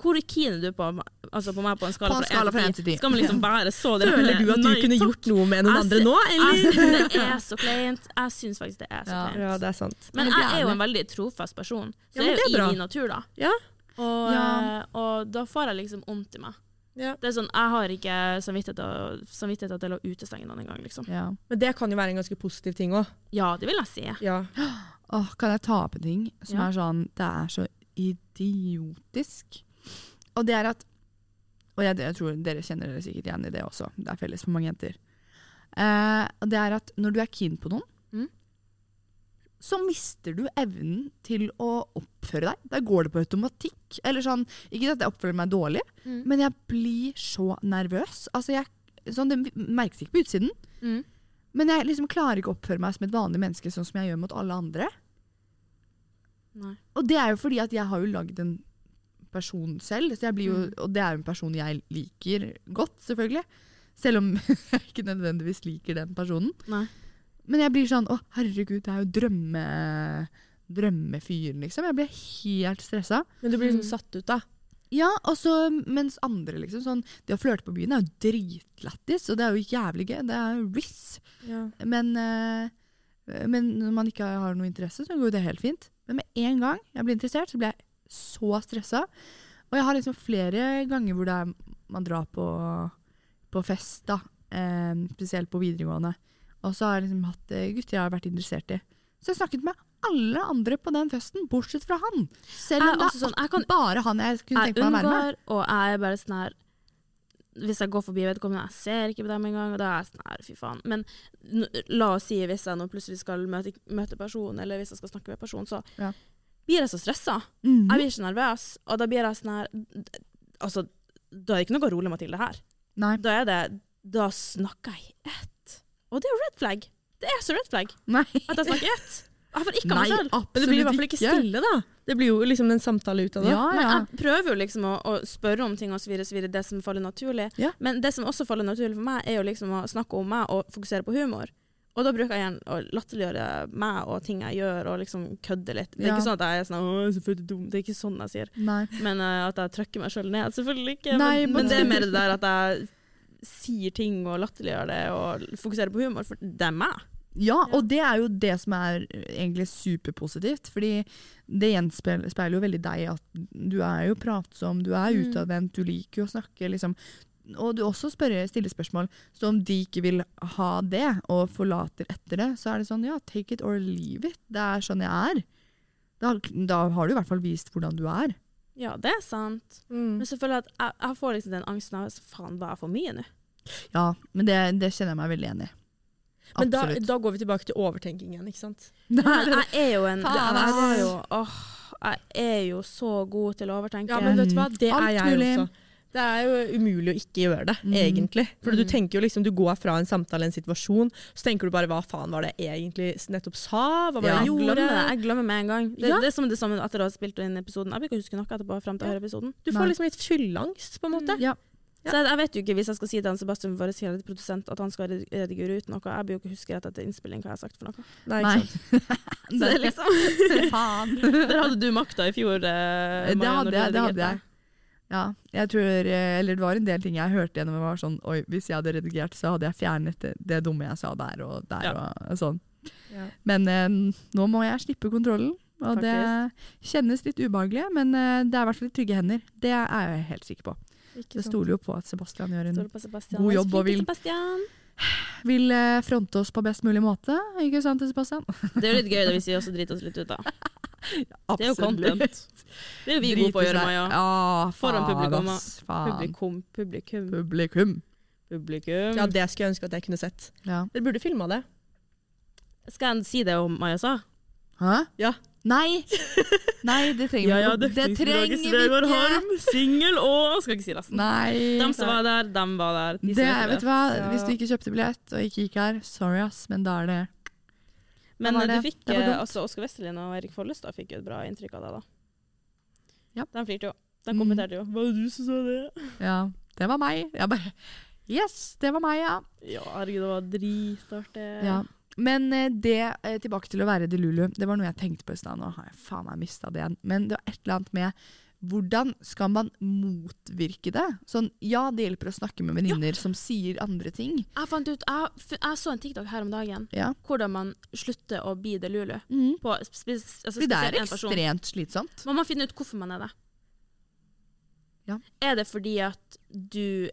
S1: Hvor keen er du på, altså på meg på en skala,
S2: På en skala fra
S1: fra
S2: en
S1: 1
S2: til
S1: til
S2: ti.
S1: 10? Skal man liksom være så
S3: Føler Altså, du at du
S1: Nei,
S3: kunne
S1: takk.
S3: gjort noe med noen
S1: Jeg
S3: andre
S1: sy-
S3: nå,
S1: Jeg
S3: eller?
S1: syns det er så kleint. Jeg syns faktisk det er så
S2: Ja.
S1: kleint.
S3: det er sant.
S1: Men
S2: Helt
S1: jeg er jo
S2: jævlig.
S1: en veldig trofast person, så det
S3: Ja, men
S1: er
S3: det er
S1: jo i
S3: bra.
S1: min natur, da.
S3: Ja.
S1: Og,
S2: Ja.
S1: eh, og da får jeg liksom vondt i meg.
S3: Ja.
S1: Det er sånn, Jeg har ikke samvittighet til å- samvittighet til å utestenge noen engang, liksom.
S2: Ja.
S3: Men det kan jo være en ganske positiv ting òg.
S1: Ja, det vil jeg si.
S3: Ja.
S2: Åh, kan jeg ta opp en ting som
S1: Ja.
S2: er sånn Det er så idiotisk. Og det er at Og jeg, jeg tror dere kjenner dere sikkert igjen i det også. Det er felles for mange jenter. Eh, og det er at når du er keen på noen,
S1: Mm.
S2: så mister du evnen til å oppføre deg. Da går det på automatikk. Eller sånn, ikke at jeg oppfører meg dårlig,
S1: Mm.
S2: men jeg blir så nervøs. Altså jeg, sånn, det merkes ikke på utsiden,
S1: Mm.
S2: men jeg liksom klarer ikke å oppføre meg som et vanlig menneske, sånn som jeg gjør mot alle andre.
S1: Nei.
S2: Og det er jo fordi at jeg har jo lagd en person selv, så jeg blir jo,
S1: Mm.
S2: og det er jo en person jeg liker godt, selvfølgelig. Selv om jeg ikke nødvendigvis liker den personen.
S1: Nei.
S2: Men jeg blir sånn, å herregud, det er jo drømme, drømmefyren, liksom. Jeg blir helt stressa.
S3: Men du blir liksom satt ut, da.
S2: Ja, og så mens andre, liksom, sånn, det å flørte på byen er jo dritlættis, og det er jo jævlig gøy. Det er jo riss. Men, eh, men når man ikke har noe interesse, så går jo det helt fint. Men med en gang jeg blir interessert, så blir jeg så stressa. Og jeg har liksom flere ganger hvor det er man drar på, på fest, da. Eh, spesielt på videregående. Og så har jeg liksom hatt eh, gutter jeg har vært interessert i. Så jeg snakket med alle andre på den festen, bortsett fra han. Selv
S1: Jeg, er
S2: om det
S1: også
S2: er
S1: sånn, jeg kan
S2: bare han jeg kunne
S1: Jeg
S2: tenke meg å være med.
S1: unngår, og jeg er bare sånn her Hvis jeg går forbi vedkommende, jeg ser ikke på dem engang, og da er jeg sånn her, fy faen. Men n la oss si hvis jeg nå plutselig skal møte, møte personen, eller hvis jeg skal snakke med personen, så
S2: Ja.
S1: blir jeg så stressa.
S2: Mhm.
S1: Jeg blir så nervøs, og da blir jeg sånn her Altså, da er det ikke noe rolig, Mathilde, her.
S2: Nei.
S1: Da er det Da snakker jeg i ett. Og det er red flag. Det er så red flag
S2: Nei.
S1: at jeg snakker i ett. Jeg får ikke av meg
S2: Nei,
S1: sjøl.
S3: Men det blir i
S2: absolutt
S3: hvert fall ikke stille, da. Det blir jo liksom en samtale ut av det.
S2: Ja,
S1: Men
S2: ja.
S1: jeg prøver jo liksom å, å spørre om ting og så videre, så videre, det som faller naturlig.
S2: Ja.
S1: Men det som også faller naturlig for meg, er jo liksom å snakke om meg og fokusere på humor. Og da bruker jeg gjerne å latterliggjøre meg og ting jeg gjør, og liksom kødde litt. Det er
S2: Ja.
S1: ikke sånn at jeg er sånn «Åh, jeg er selvfølgelig dum, det er ikke sånn jeg sier.
S2: Nei.
S1: Men eh, at jeg trykker meg sjøl ned, selvfølgelig ikke.
S2: Nei,
S1: men,
S2: men-
S1: men det er mer det der at jeg sier ting og latterliggjør det, og fokuserer på humor, for det er meg.
S2: Ja, og det er jo det som er eh, egentlig superpositivt, fordi det gjenspeiler speiler jo veldig deg at du er jo pratsom, du er
S1: Mm.
S2: utadvendt, du liker jo å snakke, liksom. Og du også spør, stiller spørsmål, så om de ikke vil ha det, og forlater etter det, så er det sånn, ja, take it or leave it, det er sånn jeg er. Da, da har du i hvert fall vist hvordan du er.
S1: Ja, det er sant.
S3: Mm.
S1: Men selvfølgelig at jeg, jeg får liksom den angsten av faen, var jeg for mye nå?
S2: Ja, men det, det kjenner jeg meg veldig enig i.
S3: Men da,
S2: Absolutt.
S3: da går vi tilbake til overtenkingen, ikke sant?
S1: Men jeg er jo en
S2: Faen,
S1: jeg,
S2: ass.
S1: er jo, åh, jeg er jo så god til å overtenke.
S3: Ja, men vet du hva, det
S2: Alt
S3: er jeg
S2: mulig.
S3: også. Det er jo umulig å ikke gjøre det,
S2: Mm.
S3: egentlig. For du
S1: Mm.
S3: tenker jo liksom, du går fra en samtale, en situasjon, så tenker du bare hva faen var det jeg egentlig nettopp sa? Hva var det
S2: Ja.
S1: jeg
S3: jeg
S1: glemmer
S3: gjorde?
S1: det jeg glemmer med en gang. Det,
S3: Ja.
S1: det er som det samme etter å ha spilt inn episoden. Jeg bruker å huske noe etterpå. frem til å
S3: Ja.
S1: høre episoden.
S3: Du
S2: Nei.
S3: får liksom litt fylleangst, på en måte.
S2: Ja.
S3: Ja.
S1: Så jeg, jeg vet jo ikke, Hvis jeg skal si til han Sebastian vår kjære produsent at han skal redig- redigere ut noe, jeg blir jo ikke huske rett etter innspilling hva jeg har sagt for noe.
S3: Nei, ikke
S2: Nei.
S3: sant?
S1: Så det er liksom,
S2: Faen.
S1: Der hadde du makta i fjor, eh,
S2: Det
S1: Maja, når du
S2: hadde jeg. det hadde
S1: redigerte.
S2: jeg. Ja, jeg tror, eh, eller det var en del ting jeg hørte gjennom. Jeg var sånn, Oi, hvis jeg hadde redigert, så hadde jeg fjernet det, det dumme jeg sa der og der.
S1: Ja.
S2: og sånn.
S3: Ja.
S2: Men eh, nå må jeg slippe kontrollen. Og det kjennes litt ubehagelig, men eh, det er i hvert fall i trygge hender. Det er jeg helt sikker på.
S3: Ikke
S2: Jeg
S3: sant?
S2: stoler jo på at Sebastian gjør en,
S1: Stoler på Sebastian.
S2: God
S1: Han er så
S2: jobb,
S1: flink,
S2: og vil-
S1: Sebastian.
S2: vil eh, fronte oss på best mulig måte. Ikke sant, Sebastian?
S1: Det er jo litt gøy da, hvis vi også driter oss litt ut, da.
S2: Absolutt.
S1: Det er jo content. Det er jo vi gode på å
S2: Driter
S1: gjøre,
S2: seg-
S1: Maja.
S2: Ja,
S1: Foran
S2: faen,
S1: publikum,
S2: ass, Faen.
S1: Publikum, publikum,
S2: Publikum.
S1: publikum.
S3: Ja, det skulle jeg ønske at jeg kunne sett.
S2: Ja.
S3: Dere burde filma det.
S1: Skal jeg si det om Maja sa?
S2: Hæ?
S3: Ja.
S2: Nei. Nei, det trenger vi ikke.
S1: singel og Skal ikke si resten.
S2: Nei.
S1: De som var der, de var der. De som
S2: det,
S1: vet
S2: vet du hva,
S3: Ja.
S2: Hvis du ikke kjøpte billett og ikke gikk her, sorry ass, men da er det
S1: Men
S2: Hva var
S1: du
S2: det?
S1: fikk,
S2: Det var
S1: eh,
S2: dumt.
S1: altså Oskar Westerlin og Erik Follestad fikk jo et bra inntrykk av deg, da.
S2: Ja.
S1: De flirte jo. De
S2: Mm.
S1: kommenterte jo. Var det du som sa det?
S2: Ja, det var meg. Jeg bare Yes, det var meg, ja.
S1: Ja, herregud, det var dritartig.
S2: ja. Men eh, det, eh, tilbake til å være delulu, det var noe jeg tenkte på i stad. Nå har jeg faen meg mista det igjen. Men det var et eller annet med hvordan skal man motvirke det? Sånn, ja, det hjelper å snakke med venninner som sier andre ting.
S1: Jeg fant ut, jeg, f- jeg så en TikTok her om dagen,
S2: Ja.
S1: hvordan man slutter å bli det lulu.
S2: Mm.
S1: På spes, altså,
S2: Fordi det
S1: spesielt
S2: er
S1: en person.
S2: ekstremt slitsomt.
S1: Man må finne ut hvorfor man er det.
S2: Ja.
S1: Er det fordi at du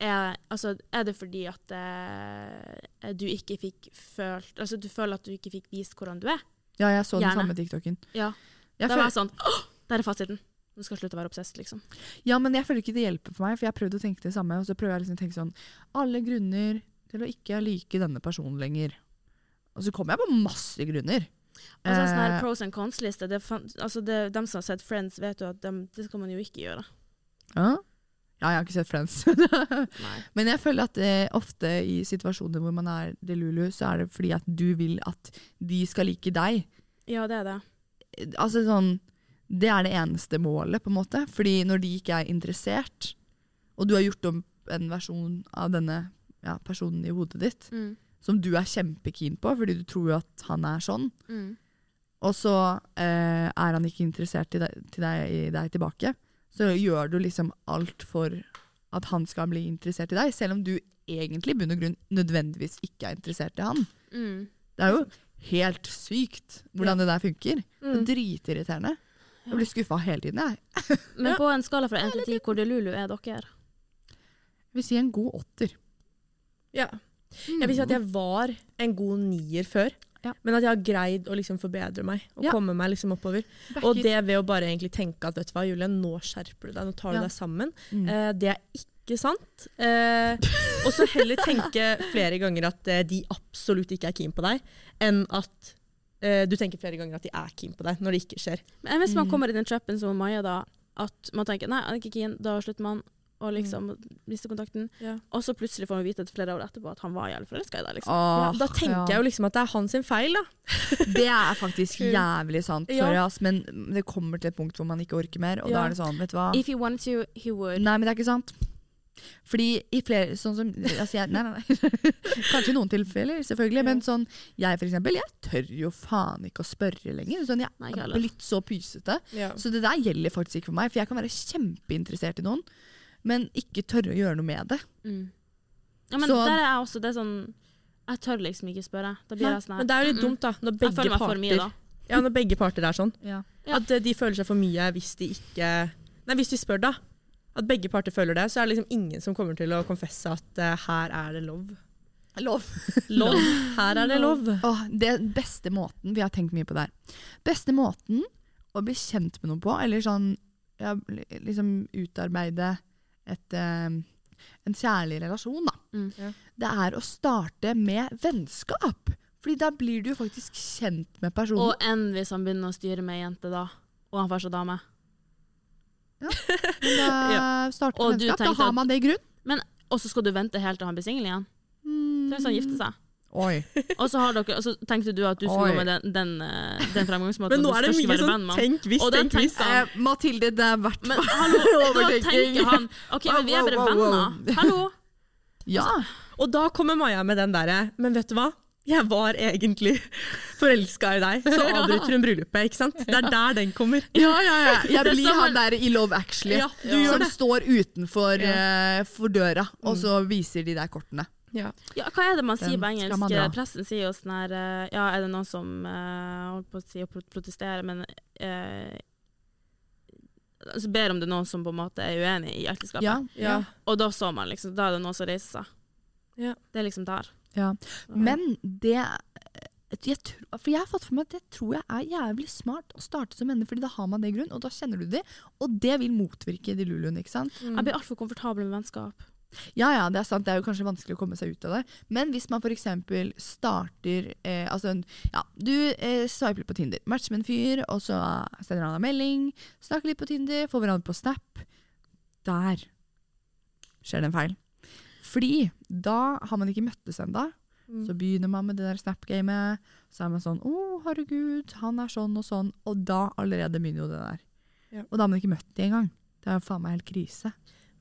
S1: er Altså, er det fordi at eh, du ikke fikk følt Altså, du føler at du ikke fikk vist hvordan du er?
S2: Ja, jeg så den
S1: Gjerne.
S2: samme TikToken.
S1: Ja.
S2: Jeg
S1: da var
S2: føler,
S1: jeg sånn Åh, Der er fasiten. Du skal slutte å være obsess, liksom.
S2: Ja, men jeg føler ikke det hjelper for meg, for jeg har prøvd å tenke det samme, og så prøver jeg liksom å tenke sånn Alle grunner til å ikke like denne personen lenger. Og så kommer jeg på masse grunner.
S1: Altså, en sånn her
S2: Eh,
S1: pros and cons-liste det fan, altså det, dem som har sett Friends, vet jo at dem, det skal man jo ikke gjøre.
S2: ja. ja, jeg har ikke sett Friends.
S1: Nei.
S2: men jeg føler at eh, ofte i situasjoner hvor man er delulu, så er det fordi at du vil at de skal like deg.
S1: Ja, det er det.
S2: Eh, Altså sånn Det er det eneste målet, på en måte. Fordi når de ikke er interessert, og du har gjort om en versjon av denne ja, personen i hodet ditt,
S1: Mm,
S2: som du er kjempekeen på, fordi du tror jo at han er sånn.
S1: mm,
S2: Og så eh, er han ikke interessert i deg, til deg, i deg tilbake. Så gjør du liksom alt for at han skal bli interessert i deg, selv om du egentlig i bunn og grunn nødvendigvis ikke er interessert i han.
S1: mm.
S2: Det er jo helt sykt hvordan det der funker. Det
S1: Mm.
S3: Mm.
S2: er dritirriterende. Jeg blir skuffa hele tiden. Jeg
S1: Men på en skala fra 1 til 10, hvor delulu er dere?
S2: Jeg vil si en god åtter.
S3: Ja. Jeg vil si at jeg var en god nier før,
S2: Ja.
S3: men at jeg har greid å liksom forbedre meg og
S2: Ja.
S3: komme meg liksom oppover. Og det ved å bare egentlig tenke at vet du hva, Julie, nå skjerper du deg, nå tar du
S2: Ja.
S3: deg sammen.
S2: Mm.
S3: Eh, det er ikke sant. Eh, og så heller tenke flere ganger at eh, de absolutt ikke er keen på deg, enn at eh, du tenker flere ganger at de er keen på deg, når det ikke skjer.
S1: Men hvis
S3: Mm.
S1: man kommer i den trappen som Maja, da, at man tenker nei, han er ikke keen, da slutter man. Og liksom mister kontakten.
S3: Mm. Ja.
S1: Og så plutselig får man vite et flere år etterpå at han var jævlig forelska i deg. liksom.
S2: Åh,
S3: da tenker jeg jo liksom at det er hans sin feil, da.
S2: Det er faktisk jævlig sant,
S3: Ja.
S2: sorry, ass, men det kommer til et punkt hvor man ikke orker mer, og da
S3: Ja.
S2: er det sånn, vet du
S3: Ah.
S2: hva?
S1: If he wanted to, he would.
S2: Nei, men det er ikke sant. Fordi i flere sånn som, altså jeg, Nei, nei, nei. Kanskje i noen tilfeller, selvfølgelig. Men sånn, jeg for eksempel, jeg tør jo faen ikke å spørre lenger. Sånn,
S1: Nei,
S2: jeg
S1: ikke
S2: er
S1: heller.
S2: blitt så pysete. Så det der gjelder faktisk ikke for meg, for jeg kan være kjempeinteressert i noen, men ikke tørre å gjøre noe med det.
S1: Mm. Ja, men
S2: Så-
S1: der er jeg også det er sånn Jeg tør liksom ikke spørre. Da blir
S2: Nei,
S1: jeg sånn her
S3: Men det er jo litt dumt, da, når
S1: Jeg føler
S3: begge
S1: meg for mye,
S3: parter,
S1: da.
S3: ja, når begge parter er sånn.
S1: Ja.
S3: At eh, de føler seg for mye hvis de ikke Nei, hvis de spør, da. At begge parter føler det, så er det liksom ingen som kommer til å konfesse at eh, her er det lov.
S2: Lov.
S3: Lov. Her er det lov.
S2: Åh, det beste måten, vi har tenkt mye på det her, beste måten å bli kjent med noen på, eller sånn, ja, liksom utarbeide et, eh, en kjærlig relasjon da,
S1: Mm.
S3: Ja.
S2: det er å starte med vennskap. Fordi da blir du jo faktisk kjent med personen.
S1: Og enn hvis han begynner å styre med ei jente, da. Og han fortsatt dame.
S2: men da starter
S1: Og
S2: med
S1: du
S2: vennskap,
S1: tenkte
S2: da har
S1: at-
S2: man det i grunn.
S1: Og så skal du vente helt til han blir singel igjen.
S2: Mm.
S1: Til hvis han gifter sånn seg.
S2: Oi.
S1: Og så, har dere, og så tenkte du at du skulle
S2: Oi.
S1: gå med den, den, eh, den fremgangsmåten.
S3: Men nå
S1: at
S3: er
S1: du
S3: det
S1: skal
S3: mye
S1: ikke være venn
S3: sånn
S1: med han.
S3: tenk hvis,
S1: Og da
S3: tenk hvis.
S1: tenker jeg-
S2: Eh, Mathilde, det er hvert
S1: Men hallo, da
S2: Overtenking.
S1: tenker han OK, men vi er bare
S2: Wow, wow, wow, wow.
S1: venner. Hallo.
S2: Ja.
S3: Og da kommer Maja med den derre Men vet du hva? Jeg var egentlig forelska i deg. Så avbryter hun bryllupet, ikke sant? Det er der den kommer.
S2: Ja, ja, ja. Jeg
S1: Det er
S2: blir
S1: som
S2: han
S1: en-
S2: der i Love Actually.
S3: Ja, du gjør
S2: som
S3: det.
S2: står utenfor
S3: Ja. Mm.
S2: eh, for døra, og så viser de der kortene.
S1: Ja, hva er det man sier
S2: Den
S1: på
S2: skal
S1: engelsk?
S2: man dra.
S1: Pressen sier jo sånn her eh, Ja, er det noen som eh, holdt på å si å pro- protestere, men eh, så ber om det er noen som på en måte er uenig i ekteskapet.
S2: Ja.
S3: Ja.
S1: Og da så man liksom, da er det noen som reiser seg.
S3: Ja.
S1: Det er liksom der.
S2: Ja. Men det eh, jeg tror, For jeg har fått for meg at jeg tror jeg er jævlig smart å starte som venner, fordi da har man det i grunn, og da kjenner du de, og det vil motvirke de luluen, ikke sant?
S3: Mm.
S1: Jeg blir altfor komfortabel med vennskap.
S2: Ja ja, det er sant, det er jo kanskje vanskelig å komme seg ut av det, men hvis man f.eks. starter eh, Altså, en- ja, du eh, swiper litt på Tinder, matcher med en fyr, og så sender han deg melding, snakker litt på Tinder, får hverandre på Snap. Der skjer det en feil. Fordi da har man ikke møttes ennå.
S3: Mm.
S2: Så begynner man med det der Snap-gamet. Så er man sånn 'Å, herregud, han er sånn og sånn.' Og da allerede begynner jo det der.
S3: Ja.
S2: Og da har man ikke møtt de engang. Det er jo faen meg helt krise.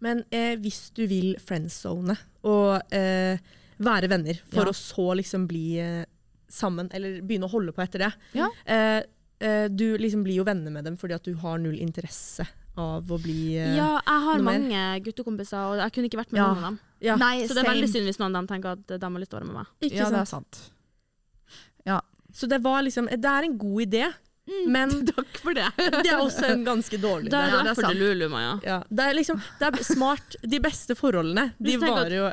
S3: Men eh, hvis du vil friendzone og eh, være venner, for
S2: Ja.
S3: å så liksom bli eh, sammen, eller begynne å holde på etter det
S2: Ja.
S3: eh, eh, Du liksom blir jo venner med dem fordi at du har null interesse av å bli eh,
S1: Ja, jeg har
S3: noe mer?
S1: mange guttekompiser, og jeg kunne ikke vært med
S2: Ja.
S1: noen av dem.
S3: Ja.
S2: Nei,
S1: Så det er veldig synd hvis noen av dem tenker at de har lyst til å være med meg.
S3: Ikke
S2: ja, det er
S3: sant?
S2: sant.
S3: Så det var liksom Det er en god idé, men
S1: Takk for det.
S3: det er også en ganske dårlig
S1: Da er
S3: idé.
S1: det
S2: Ja, det er
S1: derfor det
S2: sant.
S1: er Lulu, Maja.
S3: Ja, det er liksom Det er smart. De beste forholdene, de
S1: Hvis du tenker at-
S3: varer jo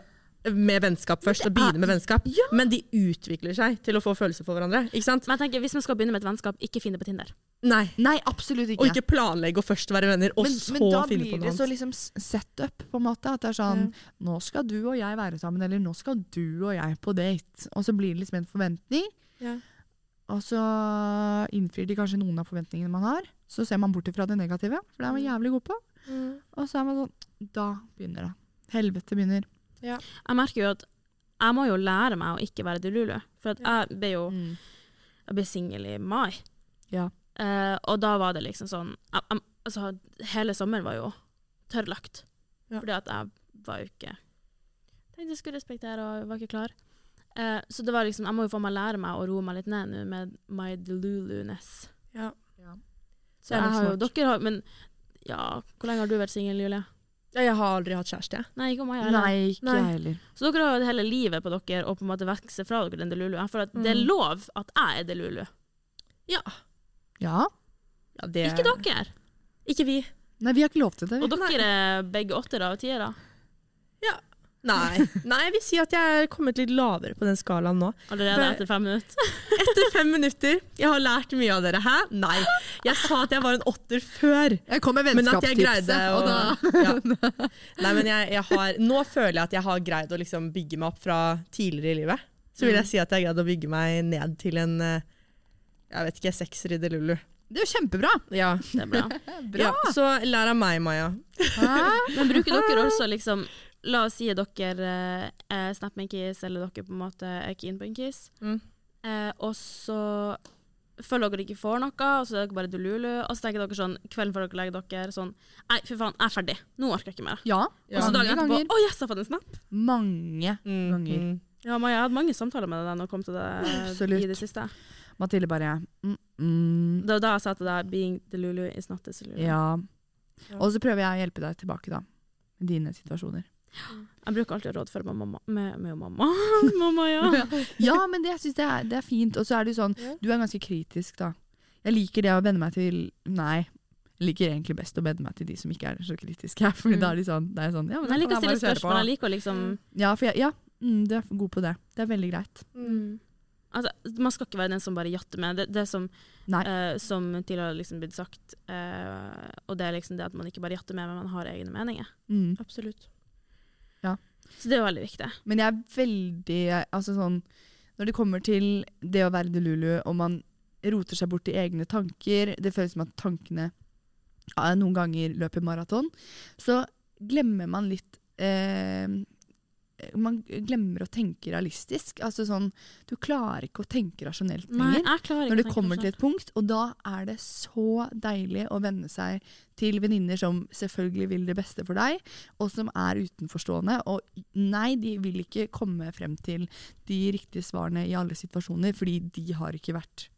S3: med vennskap først, og begynner med vennskap, men de utvikler seg til å få følelser for hverandre. Ikke sant?
S1: Men jeg tenker, hvis man skal begynne med et vennskap, ikke finn det på Tinder.
S3: Nei.
S2: Nei, absolutt ikke.
S3: Og ikke planlegge å først være venner, og
S2: men,
S3: så
S2: men da
S3: finne
S2: blir
S3: på noe
S2: det så
S3: annet.
S2: liksom s- setup, på en måte. At det er sånn Nå skal du og jeg være sammen, eller nå skal du og jeg på date. Og så blir det liksom en forventning,
S3: Ja.
S2: og så innfrir de kanskje noen av forventningene man har. Så ser man bort ifra det negative, for det er man jævlig god på.
S1: Mm.
S2: Og så er man sånn Da begynner det. Helvete begynner.
S1: Jeg merker jo at jeg må jo lære meg å ikke være delulu. For at jeg ble jo jeg ble singel i mai.
S2: Ja.
S1: Eh, og da var det liksom sånn jeg, jeg, altså, Hele sommeren var jo tørrlagt.
S3: Ja.
S1: Fordi at jeg var jo ikke Tenkte jeg skulle respektere og var ikke klar. Eh, så det var liksom, jeg må jo få meg lære meg å roe meg litt ned nå med my delulu-ness.
S3: Ja.
S2: Ja.
S1: Så jeg
S3: nok
S1: har jo,
S3: smart.
S1: dere har, men ja, hvor lenge har du vært singel, Julie?
S3: Ja, Jeg har aldri hatt kjæreste, jeg.
S1: Nei, ikke om meg heller.
S2: Nei, ikke
S3: Nei.
S2: jeg heller.
S1: Så dere har jo hele livet på dere og på en måte vokse fra dere den delulu. For at det er
S3: Mm.
S1: lov at jeg er delulu.
S2: Ja.
S3: Ja, det...
S1: Ikke dere.
S3: Ikke vi.
S2: Nei, vi har ikke lov til det.
S1: Og
S2: Vi.
S1: dere er begge åttere og tiere.
S3: Nei. Nei, jeg vil si at jeg er kommet litt lavere på den skalaen nå.
S1: Allerede
S3: For-
S1: etter fem minutter.
S3: Etter fem minutter. Jeg har lært mye av dere. Hæ? Nei. Jeg sa at jeg var en åtter før.
S2: Jeg kom med
S3: Men at jeg
S2: vennskapstipset,
S3: greide å
S2: og da
S3: ja. Nei, men jeg, jeg har Nå føler jeg at jeg har greid å liksom bygge meg opp fra tidligere i livet. Så vil jeg si at jeg har greid å bygge meg ned til en eh, jeg vet ikke, sekser i Delulu.
S2: Det er jo kjempebra!
S3: Ja.
S1: Det er bra.
S2: Bra!
S3: ja. Så lær av meg, Maja.
S2: Hæ?
S1: Men bruker dere også liksom La oss si at dere eh, er snap med en kiss, eller dere på en måte er keen på en kiss.
S3: Mm.
S1: Eh, og så føler dere ikke får noe, og så er dere bare delulu. Og så tenker dere sånn kvelden før dere legger dere sånn Nei, fy faen, jeg er ferdig. Nå orker jeg ikke mer.
S2: Ja.
S1: Og så
S2: mange
S1: dagen etterpå Å
S2: ganger.
S1: yes, jeg har fått en snap.
S2: Mange
S3: Mm,
S2: ganger.
S3: mm.
S1: Ja, Maja, jeg hadde mange samtaler med deg da når det kom til det
S2: Absolutt.
S1: i det siste.
S2: Mathilde bare mm, mm,
S1: Det var da jeg sa til deg 'being the Lulu is not the Lulu'.
S2: Ja. Og så prøver jeg å hjelpe deg tilbake, da. Med dine situasjoner.
S1: Jeg bruker alltid å rådføre meg mamma, med, med mamma. mamma, ja.
S2: Ja, men det, jeg synes det, er, det er fint. Og så er det jo sånn,
S3: Ja.
S2: du er ganske kritisk, da. Jeg liker det å venne meg til Nei. Jeg liker egentlig best å venne meg til de som ikke er så kritiske. Fordi da er de sånn, det er sånn ja, men
S1: Men jeg
S2: da
S1: liker å
S2: kan jeg
S1: stille
S2: bare kjøre på.
S1: spørsmål. Jeg liker å liksom
S2: Ja, for jeg, ja mm, du er god på det. Det er veldig greit.
S1: mm. altså, Man skal ikke være den som bare jatter med. Det, det som,
S2: Nei.
S1: eh, som tidligere har liksom blitt sagt, eh, og det er liksom det at man ikke bare jatter med, men man har egne meninger.
S2: Mm.
S3: Absolutt.
S1: Så det er jo veldig viktig.
S2: Men jeg er veldig altså sånn, Når det kommer til det å være delulu, og man roter seg bort i egne tanker Det føles som at tankene ja, noen ganger løper maraton. Så glemmer man litt eh, Man glemmer å tenke realistisk. Altså sånn, Du klarer ikke å tenke rasjonelt
S1: Nei,
S2: lenger.
S1: jeg klarer ikke
S2: Når
S1: å
S2: det
S1: tenke sånn.
S2: kommer
S1: meg
S2: til et punkt, og da er det så deilig å venne seg til venninner som selvfølgelig vil det beste for deg, og som er utenforstående. Og nei, de vil ikke komme frem til de riktige svarene i alle situasjoner, fordi de har ikke vært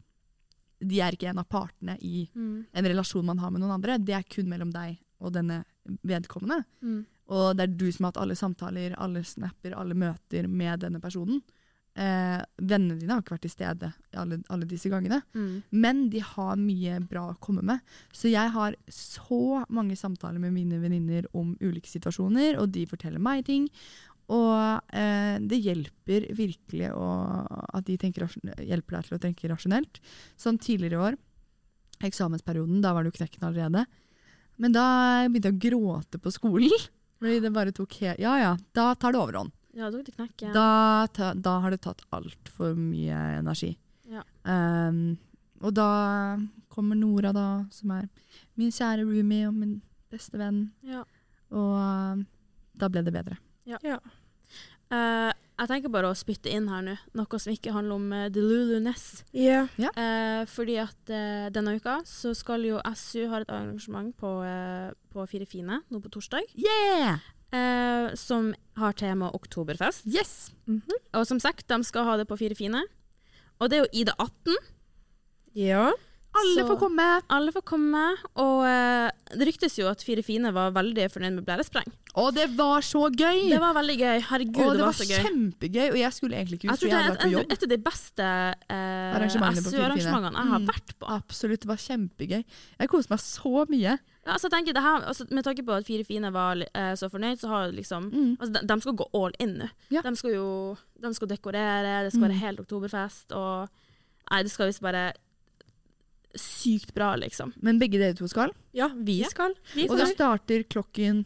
S2: De er ikke en av partene i
S1: selv. Mm.
S2: en relasjon man har med noen andre. Det er kun mellom deg og denne vedkommende.
S1: Mm.
S2: Og det er du som har hatt alle samtaler, alle snapper, alle møter med denne personen. Eh, vennene dine har ikke vært til stede i alle, alle disse gangene.
S1: Mm.
S2: Men de har mye bra å komme med. Så jeg har så mange samtaler med mine venninner om ulike situasjoner, og de forteller meg ting. Og eh, det hjelper virkelig å, at de tenker, rasjon- hjelper deg til å tenke rasjonelt. Sånn tidligere i år, eksamensperioden, da var det jo knekken allerede. Men da begynte jeg å gråte på skolen. Fordi det bare tok helt Ja ja, da tar det overhånd.
S1: Ja, dere tok knekken.
S2: Da, ta, da har det tatt altfor mye energi.
S1: Ja.
S2: Ehm, og da kommer Nora, da, som er min kjære roomie og min beste venn.
S1: Ja.
S2: Og eh, da ble det bedre.
S1: Eh, jeg tenker bare å spytte inn her nå, noe som ikke handler om uh, delulu-ness.
S3: Ja.
S1: Eh, fordi at eh, denne uka så skal jo SU har et arrangement på, eh, på Fire Fine nå på torsdag.
S2: Yeah!
S1: eh, som har tema oktoberfest.
S2: Yes!
S1: Og som sagt, de skal ha det på Fire Fine. Og det er jo Ida 18.
S3: Ja.
S2: Alle
S1: Så-
S2: får komme!
S1: Alle får komme, og eh, det ryktes jo at Fire fine var veldig fornøyd med blærespray.
S2: Og det var så gøy!
S1: Det var veldig gøy. Herregud,
S2: og
S1: det, var, så gøy.
S2: kjempegøy, og jeg skulle egentlig ikke
S1: Jeg
S2: ut, for
S1: tror
S2: jeg
S1: det er
S2: hadde
S1: et,
S2: vært på
S1: et-
S2: jobb.
S1: et av de beste eh,
S2: Arrangementene på Fire Fine. Mm.
S1: SU-arrangementene jeg har vært på.
S2: Absolutt, det var kjempegøy. Jeg koste meg så mye.
S1: Ja, altså, jeg tenker det her, altså, med tanke på at Fire fine var eh, så fornøyd, så har liksom altså, de, de skal gå all in nå.
S2: Ja. Mm.
S1: De skal jo de skal dekorere, det skal være helt oktoberfest, og Nei, det skal visst være sykt bra, liksom.
S2: Men begge dere to skal.
S3: Ja, vi
S1: Ja.
S3: skal.
S1: Vi
S2: Og det
S1: skal-
S2: starter klokken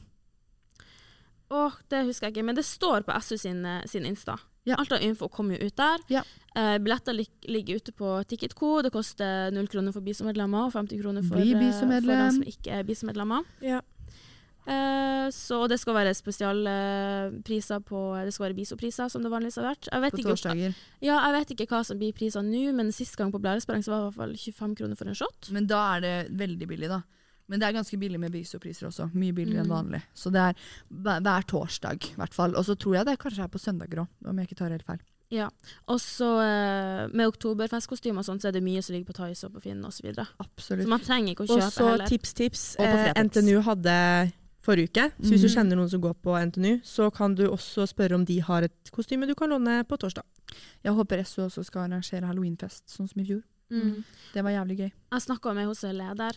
S1: Åh, det husker jeg ikke, men det står på SU sin, eh, sin Insta.
S2: Ja.
S1: Alt av info kommer jo ut der.
S2: Ja.
S1: Eh, billetter lik, ligger ute på Ticketco. Det koster null kroner for bisomedlemmer og 50 kroner for,
S2: Bli
S1: eh, for
S2: bisomedlem.
S1: dem som ikke er bisomedlemmer.
S3: Ja.
S1: Eh, så det skal være spesialpriser på Det skal være bisopriser, som det vanligvis har vært. Jeg vet,
S2: på
S1: ikke,
S2: torsdager.
S1: ja, jeg vet ikke hva som blir prisene nå, men sist gang på Blæresprangen så var det i hvert fall 25 kroner for en shot.
S2: Men da er det veldig billig, da. Men det er ganske billig med bisopriser også. Mye billigere
S1: Mm.
S2: enn vanlig. Så det er hver hver torsdag, i hvert fall. Og så tror jeg det kanskje er på søndager òg, om jeg ikke tar helt feil.
S1: Ja. Og så eh, med oktoberfestkostyme og sånt, så er det mye som ligger på Tice og på Finn osv. Så
S2: Absolutt.
S1: man trenger ikke å
S3: Og
S1: kjøpe
S3: så
S1: heller.
S3: tips-tips.
S2: Og på
S3: Eh,
S2: Fretex.
S3: NTNU hadde forrige uke. Så hvis du kjenner noen som går på NTNU, så kan du også spørre om de har et kostyme du kan låne på torsdag.
S2: Jeg håper SU også skal arrangere halloweenfest, sånn som i fjor.
S1: Mm.
S2: Det var jævlig gøy.
S1: Jeg snakka med hos en leder,